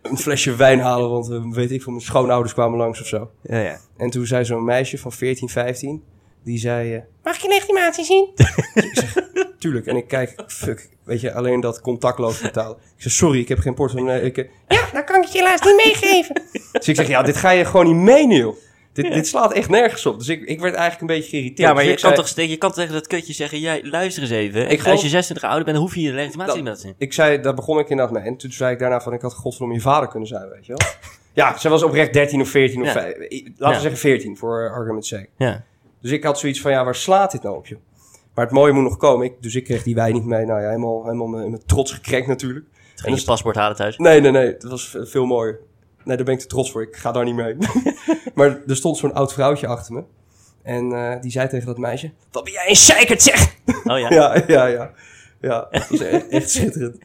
S2: een flesje wijn halen, want eh, weet ik van mijn schoonouders kwamen langs of zo.
S1: Ja, ja.
S2: En toen zei zo'n meisje van 14, 15, die zei... eh, Mag ik je legitimatie zien? ik zeg, tuurlijk. En ik kijk, fuck, weet je, alleen dat contactloos betaal. Ik zeg, sorry, ik heb geen portemonnee. Ik, eh, ja, dan kan ik het je helaas niet meegeven. dus ik zeg, ja, dit ga je gewoon niet meenemen. joh. Dit, dit slaat echt nergens op. Dus ik, ik werd eigenlijk een beetje geïrriteerd.
S1: Ja, maar
S2: Dus
S1: je
S2: ik
S1: kan,
S2: zei-
S1: toch, ste- je kan tegen dat kutje zeggen, jij, luister eens even.
S2: Ik geloof-
S1: Als je 26 jaar ouder bent, hoef je je legitimatie
S2: Dat-
S1: niet meer te zien.
S2: Ik zei, daar begon ik inderdaad mee. En toen zei ik daarna van, ik had godverdomme je vader kunnen zijn, weet je wel. Ja, zij was oprecht 13 of 14 of
S1: Ja.
S2: 5. Laten we
S1: Ja.
S2: zeggen 14, voor argument's sake.
S1: Ja.
S2: Dus ik had zoiets van, ja, waar slaat dit nou op, joh? Maar het mooie moet nog komen. Ik, dus ik kreeg die wijn niet mee. Nou ja, helemaal, helemaal mijn, mijn trots gekrenkt natuurlijk.
S1: Toen
S2: En
S1: ging je paspoort halen
S2: (laughs)
S1: thuis. Oh
S2: Nee, nee, nee. Dat was v- veel mooier. Nee, daar ben ik te trots voor. Ik ga daar niet mee. (laughs) maar er stond zo'n oud vrouwtje achter me. En eh, die zei tegen dat meisje... Wat ben jij een zeikert, zeg!
S1: Oh ja.
S2: Ja, (laughs) ja, ja. Ja, dat was e- echt, schitterend.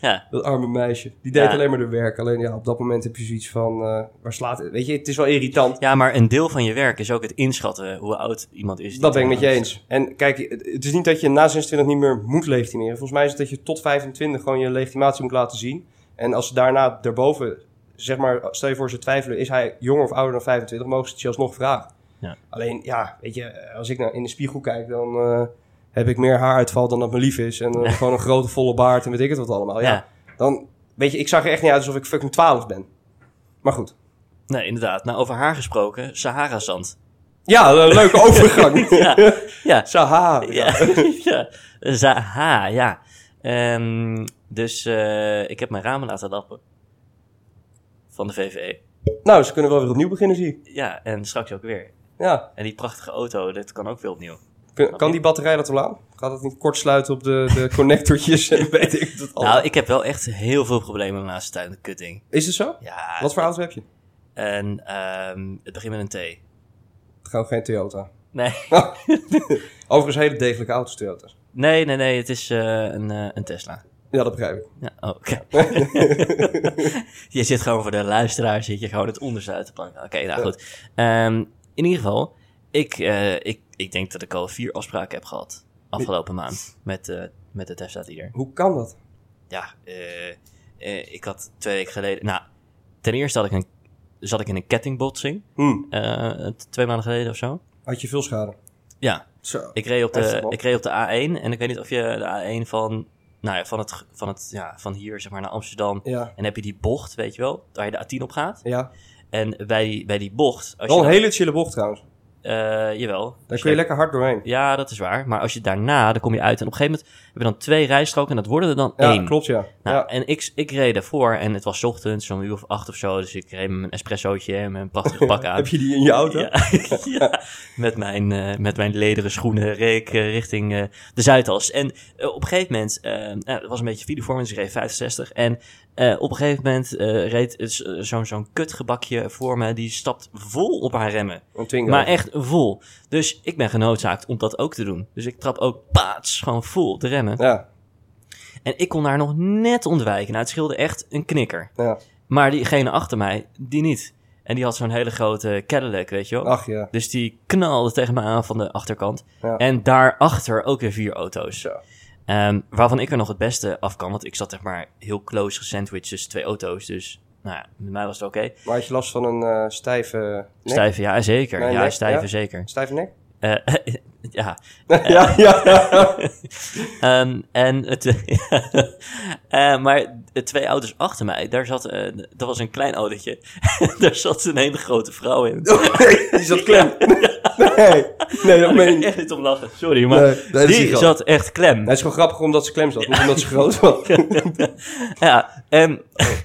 S1: Ja.
S2: Dat arme meisje. Die deed
S1: Ja.
S2: alleen maar de werk. Alleen ja, op dat moment heb je zoiets van... eh, waar slaat het? Weet je, het is wel irritant.
S1: Ja, maar een deel van je werk is ook het inschatten hoe oud iemand is. die
S2: Dat ben ik met je
S1: oud is.
S2: eens. En kijk, het- het is niet dat je na 26 niet meer moet legitimeren. Volgens mij is het dat je tot 25 gewoon je legitimatie moet laten zien. En als ze daarna daarboven, zeg maar, stel je voor ze twijfelen, is hij jonger of ouder dan 25, mogen ze het je alsnog vragen.
S1: Ja.
S2: Alleen, ja, weet je, als ik nou in de spiegel kijk, dan eh, heb ik meer haaruitval dan dat me lief is. En
S1: (laughs)
S2: eh, gewoon een grote volle baard en weet ik het wat allemaal. Ja.
S1: Ja.
S2: Dan, weet je, ik zag er echt niet uit alsof ik fucking 12 ben. Maar goed.
S1: Nee, inderdaad. Nou, over haar gesproken, Sahara-zand.
S2: Ja, een
S1: (laughs)
S2: leuke overgang. (laughs)
S1: Ja. Ja.
S2: Saha. (laughs)
S1: Ja. (laughs) ja. Zaha, ja. Ehm, dus eh, ik heb mijn ramen laten lappen. Van de VVE.
S2: Nou, ze kunnen wel weer opnieuw beginnen, zie ik.
S1: Ja, en straks ook weer.
S2: Ja.
S1: En die prachtige auto, dat kan ook weer opnieuw.
S2: Kun- kan die batterij dat wel aan? Gaat dat niet kortsluiten op de, de (laughs) connectortjes en weet ik het al?
S1: Nou, ik heb wel echt heel veel problemen de laatste tijd met kutting.
S2: Is het zo?
S1: Ja.
S2: Wat voor auto heb je?
S1: En ehm, het begint met een T.
S2: Gewoon geen Toyota.
S1: Nee, (laughs)
S2: Overigens hele degelijke auto's Toyota's.
S1: nee, nee, nee het is eh, een, eh, een Tesla.
S2: Ja, dat begrijp ik.
S1: Ja, oh, oké. (laughs) je zit gewoon voor de luisteraar, zit je gewoon het onderste uit te planken. Oké, nou goed. Ehm, in ieder geval, ik, eh, ik, ik denk dat ik al vier afspraken heb gehad afgelopen maand met, eh, met de Tesla dealer.
S2: Hoe kan dat?
S1: Ja, eh, eh, ik had twee weken geleden... Nou, ten eerste had ik een, zat ik in een kettingbotsing.
S2: Hm.
S1: eh, t- twee maanden geleden of zo.
S2: Had je veel schade?
S1: Ja,
S2: Zo.
S1: ik reed, op
S2: Heftig,
S1: de,
S2: man.
S1: ik reed op de A1. En ik weet niet of je de A1 van... Nou ja, van, het, g- van, het, ja, van hier zeg maar naar Amsterdam.
S2: Ja.
S1: En heb je die bocht, weet je wel, waar je de A10 op gaat.
S2: Ja.
S1: En bij die, bij die bocht... Als
S2: Wel
S1: je
S2: een hele chille bocht trouwens.
S1: eh, jawel.
S2: Oh, Daar kun je lekker hard doorheen.
S1: Ja, dat is waar. Maar als je daarna, dan kom je uit. En op een gegeven moment hebben we dan twee rijstroken en dat worden er dan
S2: Ja,
S1: één.
S2: klopt ja.
S1: Nou,
S2: ja.
S1: En ik, ik reed daarvoor en het was 's ochtends, zo'n uur of acht of zo. Dus ik reed met mijn espressootje en mijn prachtige
S2: (laughs)
S1: pak aan.
S2: Heb je die in je auto?
S1: Ja, (laughs) ja, met, mijn, eh, met mijn lederen schoenen reed ik eh, richting eh, de Zuidas. En eh, op een gegeven moment, eh, nou, het was een beetje video voor me, dus ik reed 65. En eh, op een gegeven moment eh, reed eh, zo- zo'n zo'n kutgebakje voor me, die stapt vol op haar remmen.
S2: Een Twingo.
S1: Maar echt vol. Dus ik ben genoodzaakt om dat ook te doen. Dus ik trap ook paats gewoon vol op de remmen.
S2: Ja.
S1: En ik kon daar nog net ontwijken. Nou, het scheelde echt een knikker.
S2: ja.
S1: Maar diegene achter mij, die niet. En die had zo'n hele grote Cadillac, weet je wel.
S2: Ach ja.
S1: Dus die knalde tegen me aan van de achterkant.
S2: Ja.
S1: En daarachter ook weer vier auto's.
S2: Zo.
S1: Ehm, waarvan ik er nog het beste af kan. Want ik zat zeg maar heel close gesandwiched tussen twee auto's. Dus nou ja, met mij was het oké.
S2: Maar had je last van een eh, stijve nek?
S1: Stijven, ja zeker.
S2: Mijn
S1: ja,
S2: nek,
S1: stijven,
S2: ja.
S1: zeker.
S2: Stijve nek?
S1: Eh, (laughs) ja,
S2: (laughs) ja, ja.
S1: Ehm, en het, (laughs) Eh, maar de twee auto's achter mij, daar zat, eh dat was een klein autootje, (laughs) daar zat een hele grote vrouw in.
S2: (laughs) nee, die zat klem. Nee, nee,
S1: (laughs)
S2: dat meen je niet.
S1: Echt niet om lachen, sorry, maar
S2: Nee, nee, dat is niet
S1: die
S2: grappig.
S1: zat echt klem.
S2: Nee, Het is gewoon grappig omdat ze klem zat, niet omdat ze
S1: (laughs)
S2: groot was.
S1: Ja, en... (laughs)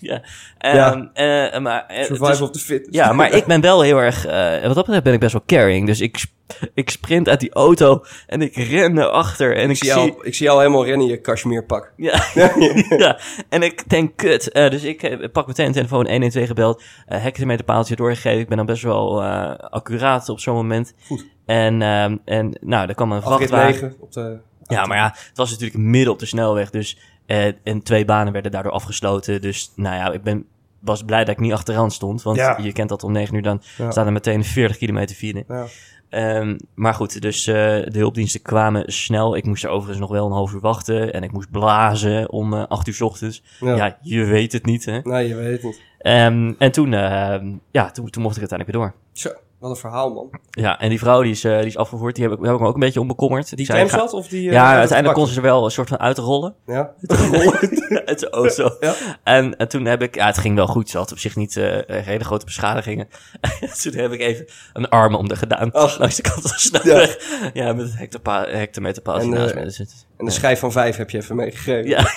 S1: ja, ehm, eh, maar... eh,
S2: Survival
S1: dus-
S2: of the fit.
S1: ja, maar ik ben wel heel erg... eh, wat dat betreft ben ik best wel caring, dus ik, sp- ik sprint uit die auto en ik ren erachter en ik,
S2: (laughs) Ik zie, jou, ik zie jou helemaal rennen in je kashmirpak.
S1: Ja. (laughs) ja, en ik denk, kut. Eh, dus ik eh, pak meteen een telefoon 112 gebeld. eh hectometerpaaltje doorgegeven. Ik ben dan best wel eh, accuraat op zo'n moment.
S2: Goed.
S1: En, ehm, en nou, er kwam een
S2: Afrit
S1: vrachtwagen.
S2: 9 op de...
S1: Ja, maar ja, het was natuurlijk midden op de snelweg. Dus eh, en twee banen werden daardoor afgesloten. Dus nou ja, ik ben, was blij dat ik niet achteraan stond. Want
S2: Ja.
S1: je kent dat om 9 uur, dan
S2: Ja.
S1: staan er meteen 40 kilometer file.
S2: Ja.
S1: Ehm, maar goed, dus eh, de hulpdiensten kwamen snel. Ik moest er overigens nog wel een half uur wachten. En ik moest blazen om eh, acht uur 's ochtends. Ja.
S2: Ja.
S1: je weet het niet, hè.
S2: Nee, je weet het niet.
S1: Ehm, en toen, ehm, ja, toen, toen mocht ik uiteindelijk weer door.
S2: Zo, wat een verhaal, man.
S1: Ja, en die vrouw die is, eh, die is afgevoerd. Die heb ik, daar heb ik me ook een beetje onbekommerd.
S2: Die
S1: Zij
S2: klem
S1: ga-
S2: zat of die... eh, uit
S1: Ja,
S2: het
S1: uiteindelijk kon
S2: gebak?
S1: ze er wel een soort van uitrollen.
S2: Ja,
S1: (laughs) het is ook zo.
S2: Ja.
S1: En, en toen heb ik, ja, het ging wel goed. Ze had op zich niet eh, hele grote beschadigingen. (laughs) toen heb ik even een arm om haar gedaan.
S2: Ach.
S1: Langs de kant van de snelweg. Ja. met het hectopa- hectometerpaaltje
S2: En,
S1: naast
S2: eh,
S1: me. Dus het-
S2: en de schijf van 5 heb je even meegegeven.
S1: ja.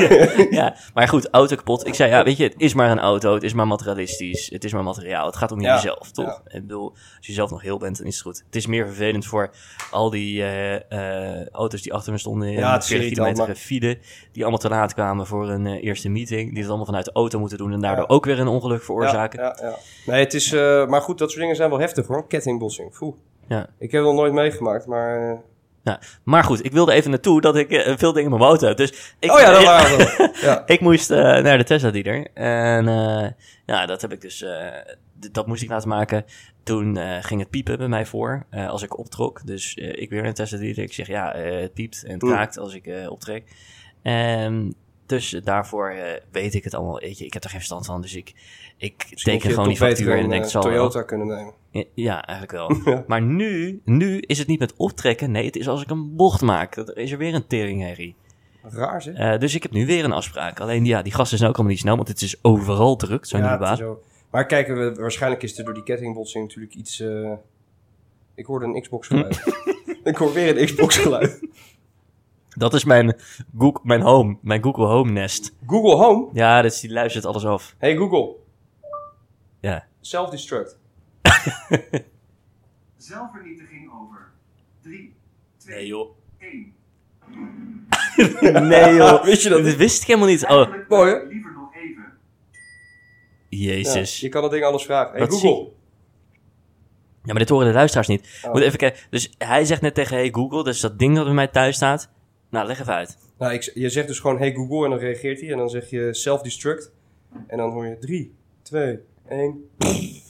S1: (laughs) ja, maar goed, auto kapot. Ik zei, ja, weet je, het is maar een auto. Het is maar materialistisch. Het is maar materiaal. Het gaat om
S2: Ja,
S1: jezelf, toch? Ik bedoel, als je zelf nog heel bent, dan is het goed. Het is meer vervelend voor al die eh, eh, auto's die achter me stonden in
S2: Ja, het is
S1: 40
S2: irritant,
S1: kilometer
S2: maar-
S1: file. Die allemaal te laat kwamen voor een eh, eerste meeting. Die het allemaal vanuit de auto moeten doen en daardoor ook weer een ongeluk veroorzaken.
S2: Ja, ja, ja. Nee, het is... eh, maar goed, dat soort dingen zijn wel heftig, hoor. Kettingbotsing. Foe.
S1: Ja.
S2: Ik heb het nog nooit meegemaakt, maar... eh,
S1: Nou, maar goed, ik wilde even naartoe dat ik eh, veel dingen in mijn auto heb. Dus ik,
S2: Oh ja,
S1: (laughs)
S2: dat waren we. dan. Ja.
S1: Ik moest eh, naar de Tesla dealer. En eh, nou, dat heb ik dus. eh, d- dat moest ik laten maken. Toen eh, ging het piepen bij mij voor. eh, als ik optrok. Dus eh, ik weer naar de Tesla dealer. Ik zeg ja, eh, het piept en het
S2: Oeh.
S1: kraakt als ik eh, optrek. En dus daarvoor eh, weet ik het allemaal. Weet je, ik heb er geen verstand van. Dus ik, ik teken
S2: Misschien had
S1: gewoon
S2: je
S1: die
S2: toch beter
S1: factuur en
S2: een,
S1: ik denk
S2: eh,
S1: het zal wel.
S2: Toyota kunnen nemen.
S1: Ja, Ja, eigenlijk
S2: (laughs)
S1: wel. Maar nu, nu is het niet met optrekken. Nee, het is als ik een bocht maak. Dan is er weer een teringherrie.
S2: Raar, zeg.
S1: Eh, dus ik heb nu weer een afspraak. Alleen ja, die gasten zijn ook allemaal niet snel, want het is overal druk, zo'n nieuwe
S2: het
S1: baan.
S2: is ook- Maar kijk, we- waarschijnlijk is er door die kettingbotsing natuurlijk iets... eh, Ik hoorde een Xbox
S1: Hm.
S2: geluid. (laughs) ik hoor weer een Xbox geluid.
S1: Dat is mijn Google, mijn home, mijn Google Home Nest.
S2: Google Home.
S1: Ja, dus die luistert alles af.
S2: Hey Google,
S1: Ja.
S2: self-destruct.
S5: Zelfvernietiging over. 3, 2,
S1: joh.
S5: 1.
S1: Nee joh.
S2: (laughs) Wist je dat
S1: Dat wist ik helemaal niet. Oh,
S2: Mooi, hè?
S5: Liever nog even.
S2: Ja,
S1: jezus.
S2: je kan dat ding alles vragen. Hey
S1: Wat
S2: Google.
S1: Ja, maar dit horen de luisteraars niet.
S2: Oh.
S1: Moet even kijken. Dus hij zegt net tegen Hey Google, dus dat ding dat bij mij thuis staat. Nou, leg even uit.
S2: Nou, ik, je zegt dus gewoon hey Google en dan reageert hij. En dan zeg je self-destruct. En dan hoor je 3, 2, 1.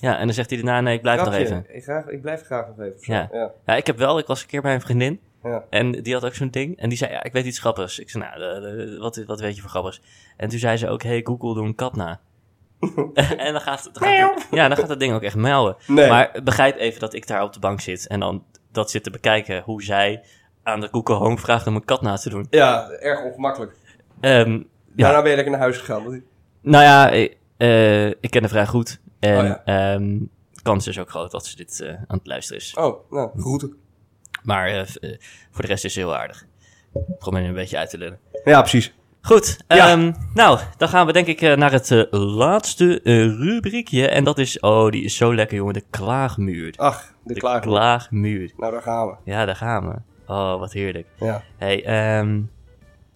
S1: Ja, en dan zegt hij daarna, nee, ik blijf nog even.
S2: Ik, graag, ik blijf graag nog even. of zo.
S1: Ja.
S2: Ja.
S1: Ja, ik heb wel, ik was een keer bij een vriendin.
S2: Ja.
S1: En die had ook zo'n ding. En die zei, ja, ik weet iets grappigs. Ik zei, nou, eh, eh, wat, wat weet je voor grappigs? En toen zei ze ook, hey Google, doe een kat
S2: (laughs)
S1: na. en dan gaat, dan gaat, ja, dan gaat dat ding ook echt melden.
S2: Nee.
S1: Maar begrijp even dat ik daar op de bank zit en dan dat zit te bekijken hoe zij aan de Google Home vraagt om een kat na te doen.
S2: Ja, erg ongemakkelijk.
S1: Ehm, ja.
S2: Daarna ben je lekker naar huis gegaan. want-
S1: Nou ja, ik, eh, ik ken haar vrij goed. En
S2: Oh ja.
S1: ehm, kans is ook groot dat ze dit eh, aan het luisteren is.
S2: Oh, nou, route.
S1: Maar eh, v- eh, voor de rest is ze heel aardig. Probeer een beetje uit te lullen.
S2: Ja, precies.
S1: Goed,
S2: Ja.
S1: ehm, nou, dan gaan we denk ik eh, naar het eh, laatste eh, rubriekje. En dat is, oh, die is zo lekker, jongen, de klaagmuur.
S2: Ach, Oh, de,
S1: de
S2: klaar.
S1: klaagmuur.
S2: Nou, daar gaan we.
S1: Ja, daar gaan we. Oh, wat heerlijk.
S2: Ja.
S1: Hey, ehm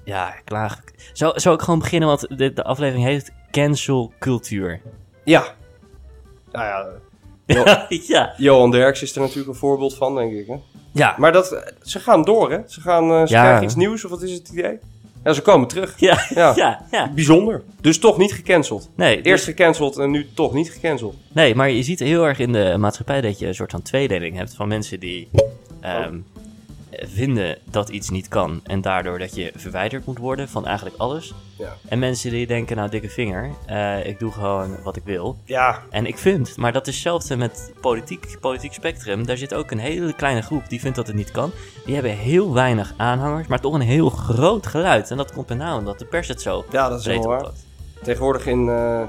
S1: ja, klaag. Zou, zou ik gewoon beginnen, want de, de aflevering heet Cancel Cultuur.
S2: Ja. Nou ja,
S1: (laughs) ja.
S2: Johan Derks is er natuurlijk een voorbeeld van, denk ik. Hè?
S1: Ja.
S2: Maar dat, ze gaan door, hè? Ze, gaan, eh, ze
S1: Ja.
S2: krijgen iets nieuws, of wat is het idee? Ja, ze komen terug.
S1: Ja, ja,
S2: Ja.
S1: ja.
S2: Bijzonder. Dus toch niet gecanceld.
S1: Nee,
S2: Eerst gecanceld en nu toch niet gecanceld.
S1: nee, maar je ziet heel erg in de maatschappij dat je een soort van tweedeling hebt van mensen die ehm, eh, vinden dat iets niet kan en daardoor dat je verwijderd moet worden van eigenlijk alles.
S2: Ja.
S1: En mensen die denken, nou dikke vinger, eh, ik doe gewoon wat ik wil.
S2: Ja.
S1: En ik vind, maar dat is hetzelfde met politiek, politiek spectrum. Daar zit ook een hele kleine groep die vindt dat het niet kan. Die hebben heel weinig aanhangers, maar toch een heel groot geluid. En dat komt er nou omdat de pers het zo
S2: Ja, dat is
S1: breed
S2: wel waar.
S1: oppakt.
S2: Tegenwoordig in eh,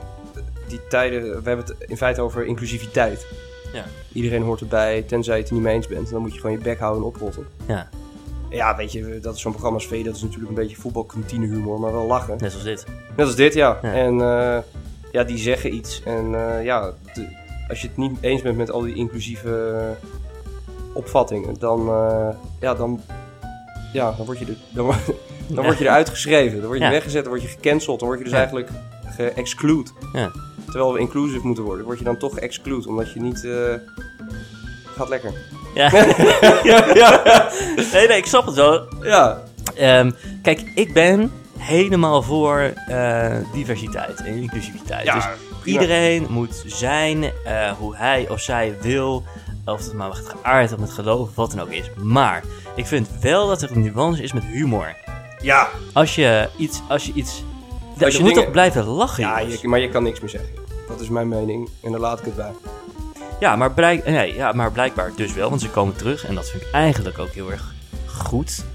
S2: die tijden, we hebben het in feite over inclusiviteit.
S1: Ja.
S2: Iedereen hoort erbij, tenzij je het er niet mee eens bent. En dan moet je gewoon je bek houden en oprotten.
S1: Ja,
S2: Ja, weet je, dat is zo'n programma als V, dat is natuurlijk een beetje voetbalkantine humor, maar wel lachen.
S1: net zoals dit.
S2: Net als dit, ja.
S1: Ja.
S2: En eh, ja, die zeggen iets. En eh, ja, de- als je het niet eens bent met al die inclusieve eh, opvattingen, dan, eh, ja, dan, ja, dan word je er, dan, wo- dan
S1: Ja.
S2: word je eruit geschreven. Dan word je
S1: Ja.
S2: weggezet, dan word je gecanceld. Dan word je dus
S1: Ja.
S2: eigenlijk ge-exclude.
S1: Ja.
S2: Terwijl we inclusive moeten worden, word je dan toch exclude, omdat je niet... eh, gaat lekker.
S1: Ja. (laughs) Nee, nee, ik snap het wel.
S2: Ja,
S1: Ehm, kijk, ik ben helemaal voor eh, diversiteit en inclusiviteit.
S2: Ja,
S1: dus
S2: prima.
S1: iedereen moet zijn eh, hoe hij of zij wil. Of het maar met geaard of met geloof of wat dan ook is. Maar ik vind wel dat er een nuance is met humor.
S2: ja.
S1: Als je iets. Als je iets. je
S2: je
S1: moet
S2: dingen-
S1: toch blijven lachen.
S2: ja
S1: jongens?
S2: je, maar je kan niks meer zeggen. Dat is mijn mening en daar laat ik het bij.
S1: Ja, maar blijk, nee, ja, maar blijkbaar dus wel, want ze komen terug. En dat vind ik eigenlijk ook heel erg goed.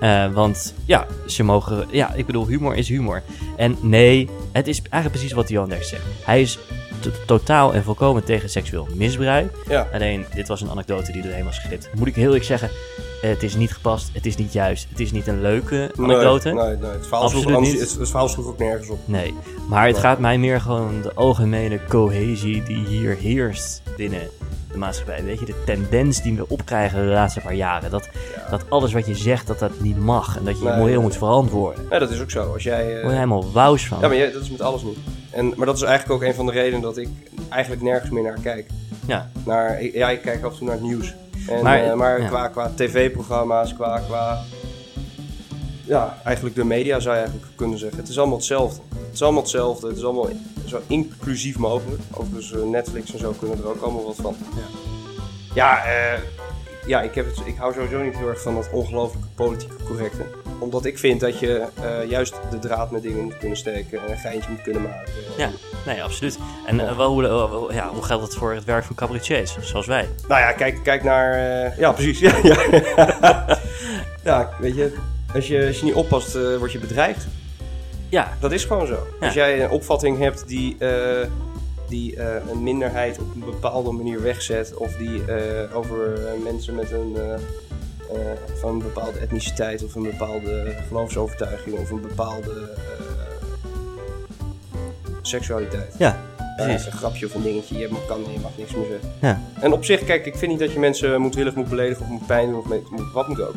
S1: Eh, want ja, ze mogen. Ja, ik bedoel, humor is humor. En nee, het is eigenlijk precies wat Johan Derks zegt. Hij is to- totaal en volkomen tegen seksueel misbruik.
S2: Ja.
S1: Alleen, dit was een anekdote die erheen was gegript. Moet ik heel eerlijk zeggen, eh, het is niet gepast, het is niet juist, het is niet een leuke anekdote.
S2: Nee, nee, nee. Het, verhaal
S1: Absoluut
S2: sloeg, anders-
S1: niet.
S2: het, het verhaal sloeg ook nergens op.
S1: Nee, maar het
S2: Maar-
S1: gaat mij meer gewoon om de algemene cohesie die hier heerst binnen de maatschappij. Weet je, de tendens die we opkrijgen de laatste paar jaren. Dat, dat alles wat je zegt, dat dat niet mag. En dat je je
S2: Nee,
S1: moreel
S2: nee,
S1: moet
S2: nee.
S1: verantwoorden.
S2: Ja, dat is ook zo. Als jij, eh,
S1: Daar word je helemaal wauws van.
S2: ja, maar jij- dat is met alles niet. En, maar dat is eigenlijk ook een van de redenen dat ik eigenlijk nergens meer naar kijk.
S1: Ja.
S2: Naar, ik- ja, ik kijk af en toe naar het nieuws. En,
S1: Maar,
S2: maar maar
S1: ja.
S2: qua, qua tv-programma's, qua, qua... Ja, eigenlijk de media zou je eigenlijk kunnen zeggen. Het is allemaal hetzelfde. Het is allemaal hetzelfde. Het is allemaal zo inclusief mogelijk. Overigens eh, Netflix en zo kunnen er ook allemaal wat van. Ja, eh, ja ik, heb het, ik hou sowieso niet heel erg van dat ongelooflijke politieke correcte. Omdat ik vind dat je eh, juist de draad met dingen moet kunnen steken en een geintje moet kunnen maken.
S1: Ja, nee, absoluut. En eh, wel, hoe, wel- wel- ja, hoe geldt dat voor het werk van cabaretiers, zoals wij?
S2: Nou ja, kijk, kijk naar. eh, ja, precies. (laughs) Ja, ja. ja, weet je, als je, als je niet oppast, eh, word je bedreigd.
S1: Ja,
S2: Dat is gewoon zo.
S1: Ja.
S2: Als jij een opvatting hebt die, eh, die eh, een minderheid op een bepaalde manier wegzet, of die eh, over eh, mensen met een. eh, eh, van een bepaalde etniciteit of een bepaalde geloofsovertuiging of een bepaalde eh, seksualiteit.
S1: ja
S2: Ja,
S1: precies.
S2: een grapje of een dingetje. Je mag, kan, je mag niks meer zeggen.
S1: Ja.
S2: En op zich, kijk, ik vind niet dat je mensen moedwillig moet beledigen of moet pijn doen of met- moet- wat moet ook.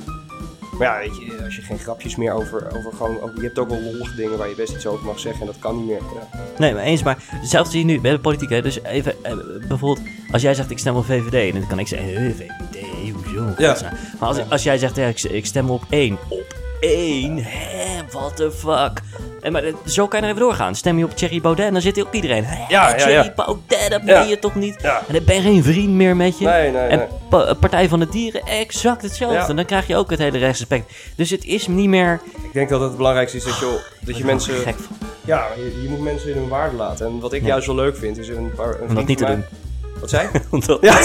S2: Maar ja, weet je, als je geen grapjes meer over, over gewoon... Ook, je hebt ook wel lollige dingen waar je best iets over mag zeggen en dat kan niet meer. Ja.
S1: Nee, maar eens, maar zelfs zie je nu bij de politiek, hè, dus even, eh, bijvoorbeeld, als jij zegt ik stem op VVD, dan kan ik zeggen, eh, VVD, hoezo?
S2: Ja.
S1: godsnaam. Maar als, als jij zegt, ja, ik, ik stem op één, op één, hè, what the fuck? En maar eh, zo kan je er even doorgaan. Stem je op Thierry Baudet en dan zit hier ook iedereen. Hè,
S2: Ja, ja,
S1: Thierry
S2: ja.
S1: Baudet, dat ben
S2: Ja.
S1: je toch niet?
S2: Ja.
S1: En dan ben je geen vriend meer met je.
S2: Nee, nee,
S1: en
S2: nee.
S1: Pa- eh, Partij van de Dieren, exact hetzelfde.
S2: Ja.
S1: En dan krijg je ook het hele rechtsaspect. Dus het is niet meer...
S2: Ik denk dat het het belangrijkste is dat je, dat je mensen...
S1: Oh, Gek van,
S2: Ja, je, je moet mensen in hun waarde laten. En wat ik juist wel leuk vind, is een paar... Een
S1: om dat
S2: vriend
S1: niet te
S2: van
S1: doen.
S2: mij- Wat
S1: (laughs)
S2: zei je?
S1: Omdat-
S2: Ja,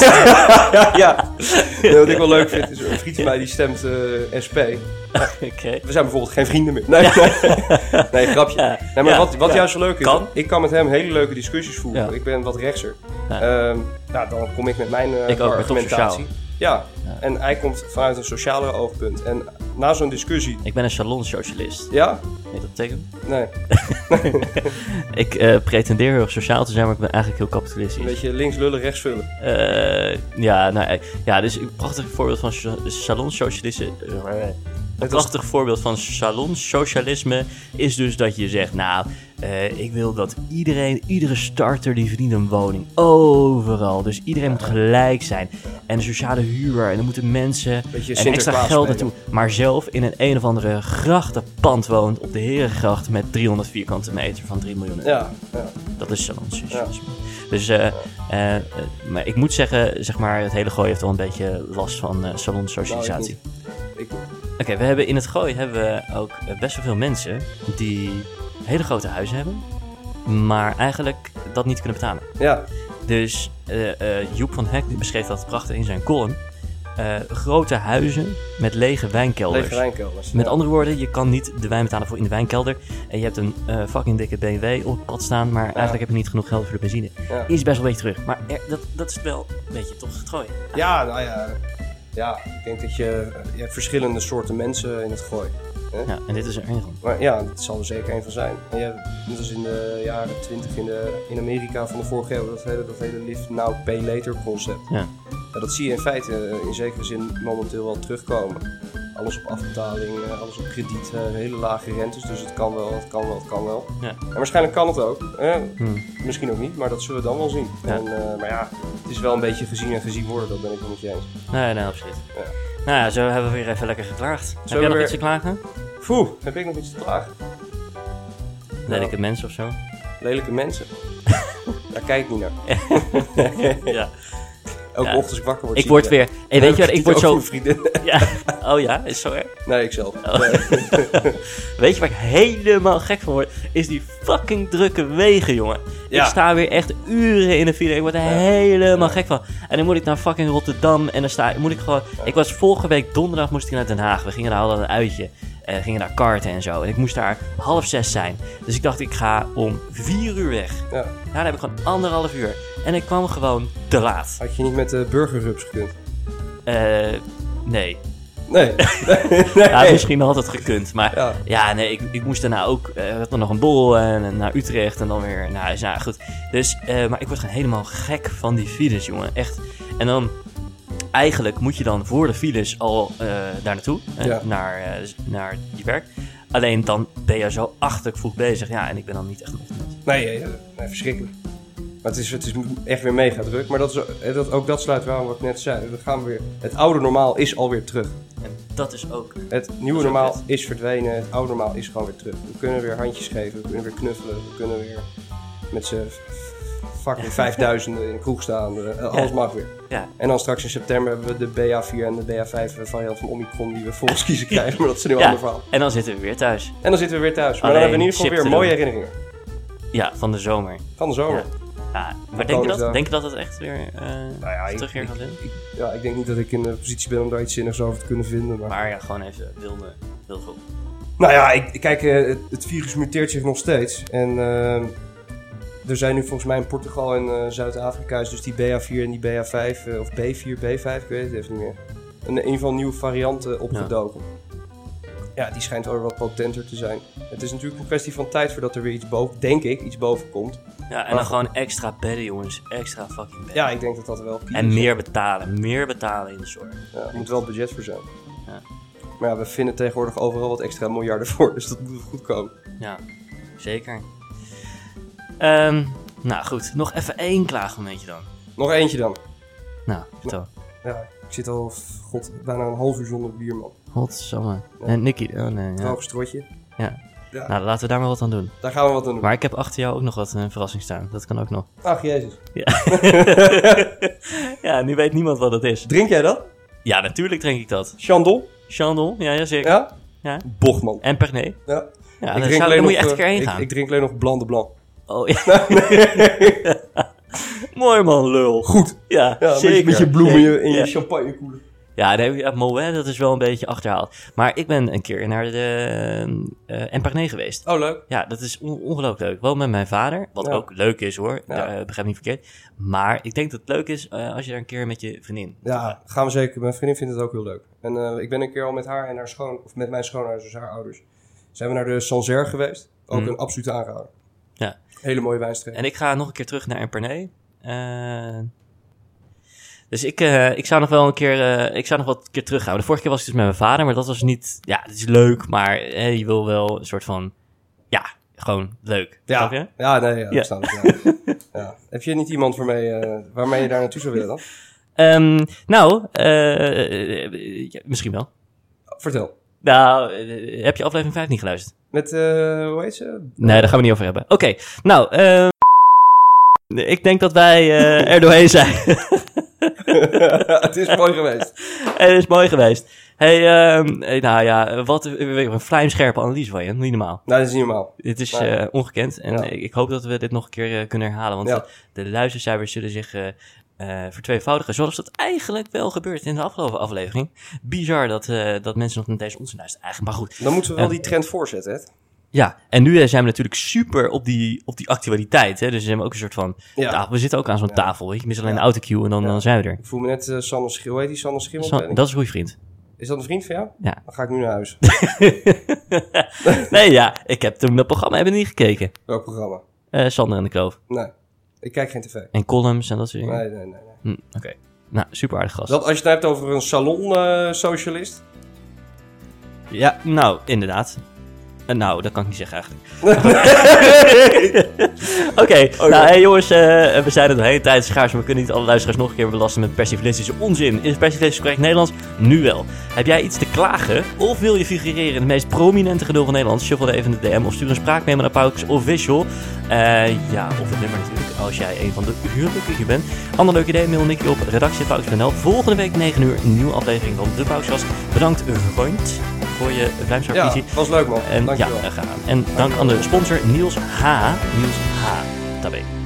S2: ja, ja. Nee, wat ik wel
S1: (laughs)
S2: leuk vind, is een vriend van mij die stemt eh, SP.
S1: Oké.
S2: We zijn bijvoorbeeld geen vrienden meer. Nee, nee. (laughs) nee grapje.
S1: Ja.
S2: Nee, maar
S1: Ja.
S2: wat, wat
S1: Ja.
S2: juist zo leuk is,
S1: Kan.
S2: ik kan met hem hele leuke discussies voeren.
S1: Ja.
S2: Ik ben wat rechtser.
S1: Ja.
S2: Ehm, nou, dan kom ik met mijn eh
S1: Ik ook, met
S2: argumentatie.
S1: Top
S2: Ja. en hij komt vanuit een socialer oogpunt. En na zo'n discussie,
S1: Ik ben een salonsocialist.
S2: ja,
S1: Weet je wat dat betekent?
S2: nee,
S1: Ik eh, pretendeer heel erg sociaal te zijn, maar ik ben eigenlijk heel kapitalistisch.
S2: een beetje links lullen, rechts vullen.
S1: Eh, ja, nou, eh, ja, dus een prachtig voorbeeld van so- salonsocialisme. eh, Een
S2: was-
S1: prachtig voorbeeld van salonsocialisme is dus dat je zegt, nou, eh, ik wil dat iedereen, iedere starter die verdient een woning. Overal. Dus iedereen moet gelijk zijn. En de sociale huur. En dan moeten mensen
S2: Beetje
S1: en extra
S2: Sinterklaas
S1: geld
S2: spelen.
S1: naartoe. Maar zelf in een een of andere grachtenpand woont op de Herengracht met 300 vierkante meter van 3 miljoen euro.
S2: Ja, ja.
S1: Dat is salonsocialisme. Dus, eh, eh, eh, maar ik moet zeggen, zeg maar, het hele gooi heeft wel een beetje last van eh salonsocialisatie.
S2: Ik,
S1: Oké, we hebben in het gooi hebben we ook eh, best wel veel mensen die hele grote huizen hebben, maar eigenlijk dat niet kunnen betalen.
S2: ja,
S1: Dus eh, eh, Joep van Hek die beschreef dat prachtig in zijn column. Eh, grote huizen met lege wijnkelders.
S2: lege wijnkelders.
S1: Met
S2: Ja.
S1: andere woorden, je kan niet de wijn betalen voor in de wijnkelder. En je hebt een eh, fucking dikke BMW op het pad staan, maar eigenlijk heb je niet genoeg geld voor de benzine.
S2: Ja.
S1: Is best wel een beetje terug. Maar er- dat, dat is wel een beetje toch het gooien.
S2: Ja, nou ja. Ja, ik denk dat je, eh, je hebt verschillende soorten mensen in het gooi.
S1: Ja, en dit is er één van.
S2: Maar ja, dat zal er zeker een van zijn. En je hebt, net als in de jaren 20 in, de, in Amerika van de vorige eeuw, dat hele, dat hele live now, pay later concept.
S1: Ja.
S2: Ja, dat zie je in feite eh, in zekere zin momenteel wel terugkomen. Alles op afbetaling, eh, alles op krediet, eh, hele lage rentes. Dus het kan wel, het kan wel, het kan wel.
S1: Ja.
S2: En waarschijnlijk kan het ook. eh,
S1: Hmm.
S2: Misschien ook niet, maar dat zullen we dan wel zien.
S1: Ja.
S2: En, eh, maar ja, het is wel een beetje gezien en gezien worden, dat ben ik wel met je eens.
S1: Nee, nee, absoluut.
S2: Ja.
S1: Nou ja, zo hebben we weer even lekker geklaagd. Heb jij
S2: we
S1: nog
S2: weer-
S1: iets te klagen?
S2: Poeh, heb ik nog iets te klagen?
S1: Lelijke mensen of zo?
S2: Lelijke
S1: (laughs)
S2: mensen. Daar kijk ik niet naar.
S1: Ja.
S2: Elke
S1: Ja.
S2: ochtend als ik wakker word.
S1: Ik
S2: zie
S1: word
S2: me.
S1: weer... Hey, weet
S2: (laughs)
S1: je wat, ik word
S2: Ook
S1: zo...
S2: voor vrienden.
S1: Ja. Oh ja, is zo erg?
S2: Nee, ikzelf.
S1: Oh. Weet je waar ik helemaal gek van word? Is die fucking drukke wegen, jongen.
S2: Ja.
S1: Ik sta weer echt uren in de file. Ik word er helemaal gek van. En dan moet ik naar fucking Rotterdam. En dan sta, moet ik gewoon... Ik was vorige week donderdag moest ik naar Den Haag. We gingen daar hadden we een uitje. Eh, we gingen naar karten en zo. En ik moest daar half zes zijn. Dus ik dacht, ik ga om vier uur weg.
S2: Ja.
S1: Daarna heb ik gewoon anderhalf uur. En ik kwam gewoon te laat.
S2: Had je niet met de burgerrups gekund?
S1: Eh, nee. (laughs)
S2: Nee. (laughs)
S1: Ja, dus- misschien had het gekund. Maar ja,
S2: Ja.
S1: nee, ik, ik moest daarna ook eh, had nog een bol en en naar Utrecht en dan weer naar huis. Nou, goed. Dus, eh, maar ik word gewoon helemaal gek van die files, jongen. Echt. En dan, eigenlijk moet je dan voor de files al eh, daar naartoe, eh,
S2: Ja.
S1: naar, eh, naar je werk. Alleen dan ben je zo achterlijk vroeg bezig. Ja, en ik ben dan niet echt een ochtendmens.
S2: Nee, eh, nee, verschrikkelijk. Maar het is, het is echt weer mega druk. Maar dat is, eh, dat, ook dat sluit wel aan wat ik net zei. We gaan weer, het oude normaal is alweer terug.
S1: En dat is ook...
S2: Het
S1: Dat
S2: nieuwe
S1: is ook
S2: normaal
S1: vet.
S2: is verdwenen. Het oude normaal is gewoon weer terug. We kunnen weer handjes geven. We kunnen weer knuffelen. We kunnen weer met z'n
S1: (laughs)
S2: fucking vijfduizenden in de kroeg staan. eh, Alles mag weer.
S1: Ja,
S2: En dan straks in september hebben we de BA4 en de BA5 variant van Omicron die we volgens kiezen krijgen. Maar dat is een heel
S1: ja.
S2: ander verhaal.
S1: en dan zitten we weer thuis.
S2: En dan zitten we weer thuis. Maar
S1: Alleen
S2: dan hebben we in ieder
S1: chip
S2: geval weer
S1: te
S2: mooie
S1: doen.
S2: herinneringen.
S1: Ja, van de zomer.
S2: Van de zomer.
S1: Ja. Ja, maar denk je, dat,
S2: Koningsdag.
S1: denk je dat het echt weer eh
S2: Nou ja, ik-
S1: terug hier gaat in?
S2: Ja. ik denk niet dat ik in de positie ben om daar iets zinnigs over te kunnen vinden. Maar...
S1: Maar ja, gewoon even wilde, wilde op.
S2: Nou ja, ik, kijk, eh, het, het virus muteert zich nog steeds. En eh, er zijn nu volgens mij in Portugal en eh, Zuid-Afrika is dus die BA4 en die BA5, eh, of B4, B5, ik weet het even niet meer. Een, in ieder geval nieuwe varianten opgedoken. Ja. die schijnt wel weer wat potenter te zijn. Het is natuurlijk een kwestie van tijd voordat er weer iets boven, denk ik, iets boven komt.
S1: Ja, en dan gewoon extra bedden, jongens. Extra fucking bedden.
S2: Ja, ik denk dat dat wel...
S1: En meer betalen, meer betalen in de zorg.
S2: Ja, er moet wel budget voor zijn.
S1: Ja.
S2: Maar ja, we vinden tegenwoordig overal wat extra miljarden (laughs) voor, dus dat moet wel goed komen.
S1: Ja, zeker. Ehm, nou goed, nog even één klaagmomentje dan.
S2: Nog eentje dan.
S1: Nou, vertel.
S2: Ja, ik zit al, god, bijna een half uur zonder bier, man.
S1: Godsamme. En Nicky, oh nee, ja.
S2: Droog strotje.
S1: ja.
S2: Ja.
S1: Nou, laten we daar maar wat aan doen.
S2: Daar gaan we wat aan doen.
S1: Maar ik heb achter jou ook nog wat eh, een verrassing staan. Dat kan ook nog.
S2: Ach, jezus.
S1: Ja. (laughs) ja, nu weet niemand wat dat is.
S2: Drink jij dat?
S1: Ja, natuurlijk drink ik dat.
S2: Chandon?
S1: Chandon, ja, ja zeker.
S2: Ja?
S1: Ja.
S2: Bochman.
S1: En Pernet.
S2: Ja.
S1: Ja, daar, zou, daar moet je echt een keer
S2: eh,
S1: heen
S2: ik-
S1: gaan.
S2: Ik, drink alleen nog blanc de blanc.
S1: Oh,
S2: (laughs)
S1: ja. (laughs) Mooi man, lul.
S2: Goed.
S1: Ja,
S2: Ja, met je-
S1: zeker.
S2: Met je bloemen in je- in je
S1: Ja.
S2: champagne koelen.
S1: Ja, daar heb ik- ja, Moet, dat is wel een beetje achterhaald. Maar ik ben een keer naar de eh Emparné geweest.
S2: Oh, leuk.
S1: Ja, dat is on- ongelooflijk leuk. Wel met mijn vader, wat
S2: Ja.
S1: ook leuk is hoor.
S2: Ja.
S1: Daar, eh, begrijp me niet verkeerd. Maar ik denk dat het leuk is eh, als je daar een keer met je vriendin...
S2: Ja, gaan we zeker. Mijn vriendin vindt het ook heel leuk. En eh, ik ben een keer al met haar en haar schoon... Of met mijn schoonouders, dus haar ouders. Zijn we naar de Sancerre geweest. Ook
S1: Mhm.
S2: een absolute aanrader.
S1: Ja.
S2: Hele mooie wijnstreek.
S1: En ik ga nog een keer terug naar Emparné. Eh, dus ik, eh, ik zou nog wel een keer, eh, ik zou nog wat keer teruggaan. De vorige keer was ik dus met mijn vader, maar dat was niet... Ja, het is leuk, maar eh, je wil wel een soort van... Ja, gewoon leuk. Snap je?
S2: Ja, ja nee, ja,
S1: Ja.
S2: ik snap het,
S1: (laughs)
S2: ja. ja. Heb je niet iemand waarmee, eh, waarmee je daar naartoe zou willen dan?
S1: Ehm, nou, eh, eh, ja, misschien wel.
S2: Vertel.
S1: Nou, eh, heb je aflevering 5 niet geluisterd?
S2: Met, eh, hoe heet ze?
S1: (laughs) Nee, daar gaan we niet over hebben. Oké, nou, ehm, ik denk dat wij eh, er doorheen zijn.
S2: het is mooi geweest.
S1: Het is mooi geweest. hey, ehm, eh, nou ja, wat een een vlijmscherpe analyse van je, niet normaal.
S2: Nou, dat is niet normaal.
S1: Dit is
S2: Nou,
S1: eh, ongekend en
S2: ja.
S1: ik ik hoop dat we dit nog een keer eh, kunnen herhalen, want
S2: Ja.
S1: de luistercijfers zullen zich eh eh vertweevoudigen, zoals dat eigenlijk wel gebeurt in de afgelopen aflevering. Bizar dat, eh, dat mensen nog naar deze onzin luisteren eigenlijk, maar goed.
S2: Dan moeten we wel
S1: Ja.
S2: die trend voorzetten, hè?
S1: Ja, en nu eh, zijn we natuurlijk super op die, op die actualiteit. Hè? Dus zijn we ook een soort van.
S2: Ja.
S1: tafel- we zitten ook aan zo'n tafel. Weet je? je mist alleen
S2: Ja.
S1: de autocue en dan,
S2: Ja.
S1: dan zijn we er.
S2: Ik voel me net eh Sanne Schil. Hoe heet die Sanne Schil?
S1: Zo- dat is een goede vriend.
S2: Is dat een vriend van jou?
S1: Ja.
S2: Dan ga ik nu naar
S1: (laughs)
S2: huis.
S1: nee, ja, ik heb toen dat programma hebben niet gekeken.
S2: Welk programma?
S1: Eh Sander en de Kloof.
S2: Nee. Ik kijk geen tv.
S1: En columns en dat soort dingen.
S2: Nee, nee, nee. nee.
S1: Hm, Oké. Nou, super aardig gast.
S2: Dat, als je het hebt over een eh, salon-socialist.
S1: Ja, nou, inderdaad. Eh, nou, dat kan ik niet zeggen eigenlijk. Oké, nou hey, jongens, eh, we zijn er doorheen. Tijd is schaars, maar we kunnen niet alle luisteraars nog een keer belasten met persiflistische onzin. Is persiflistisch correct Nederlands? Nu wel. Heb jij iets te klagen? Of wil je figureren in het meest prominente geduld van Nederland? Shuffle dan even in de DM of stuur een spraakmemo naar Pauk's Official. Eh, ja, of het nummer natuurlijk, als jij een van de huurlukkigen bent. Ander leuk idee, mail Nicky op redactie.pauks.nl. Volgende week 9 uur, een nieuwe aflevering van De Paukskast. Bedankt, vriend, voor je
S2: Ja,
S1: ruimstarvisie.
S2: was leuk man.
S1: En
S2: Dankjewel.
S1: ja, eh, gaan. En dank aan de sponsor Niels H. Niels H. Tabé.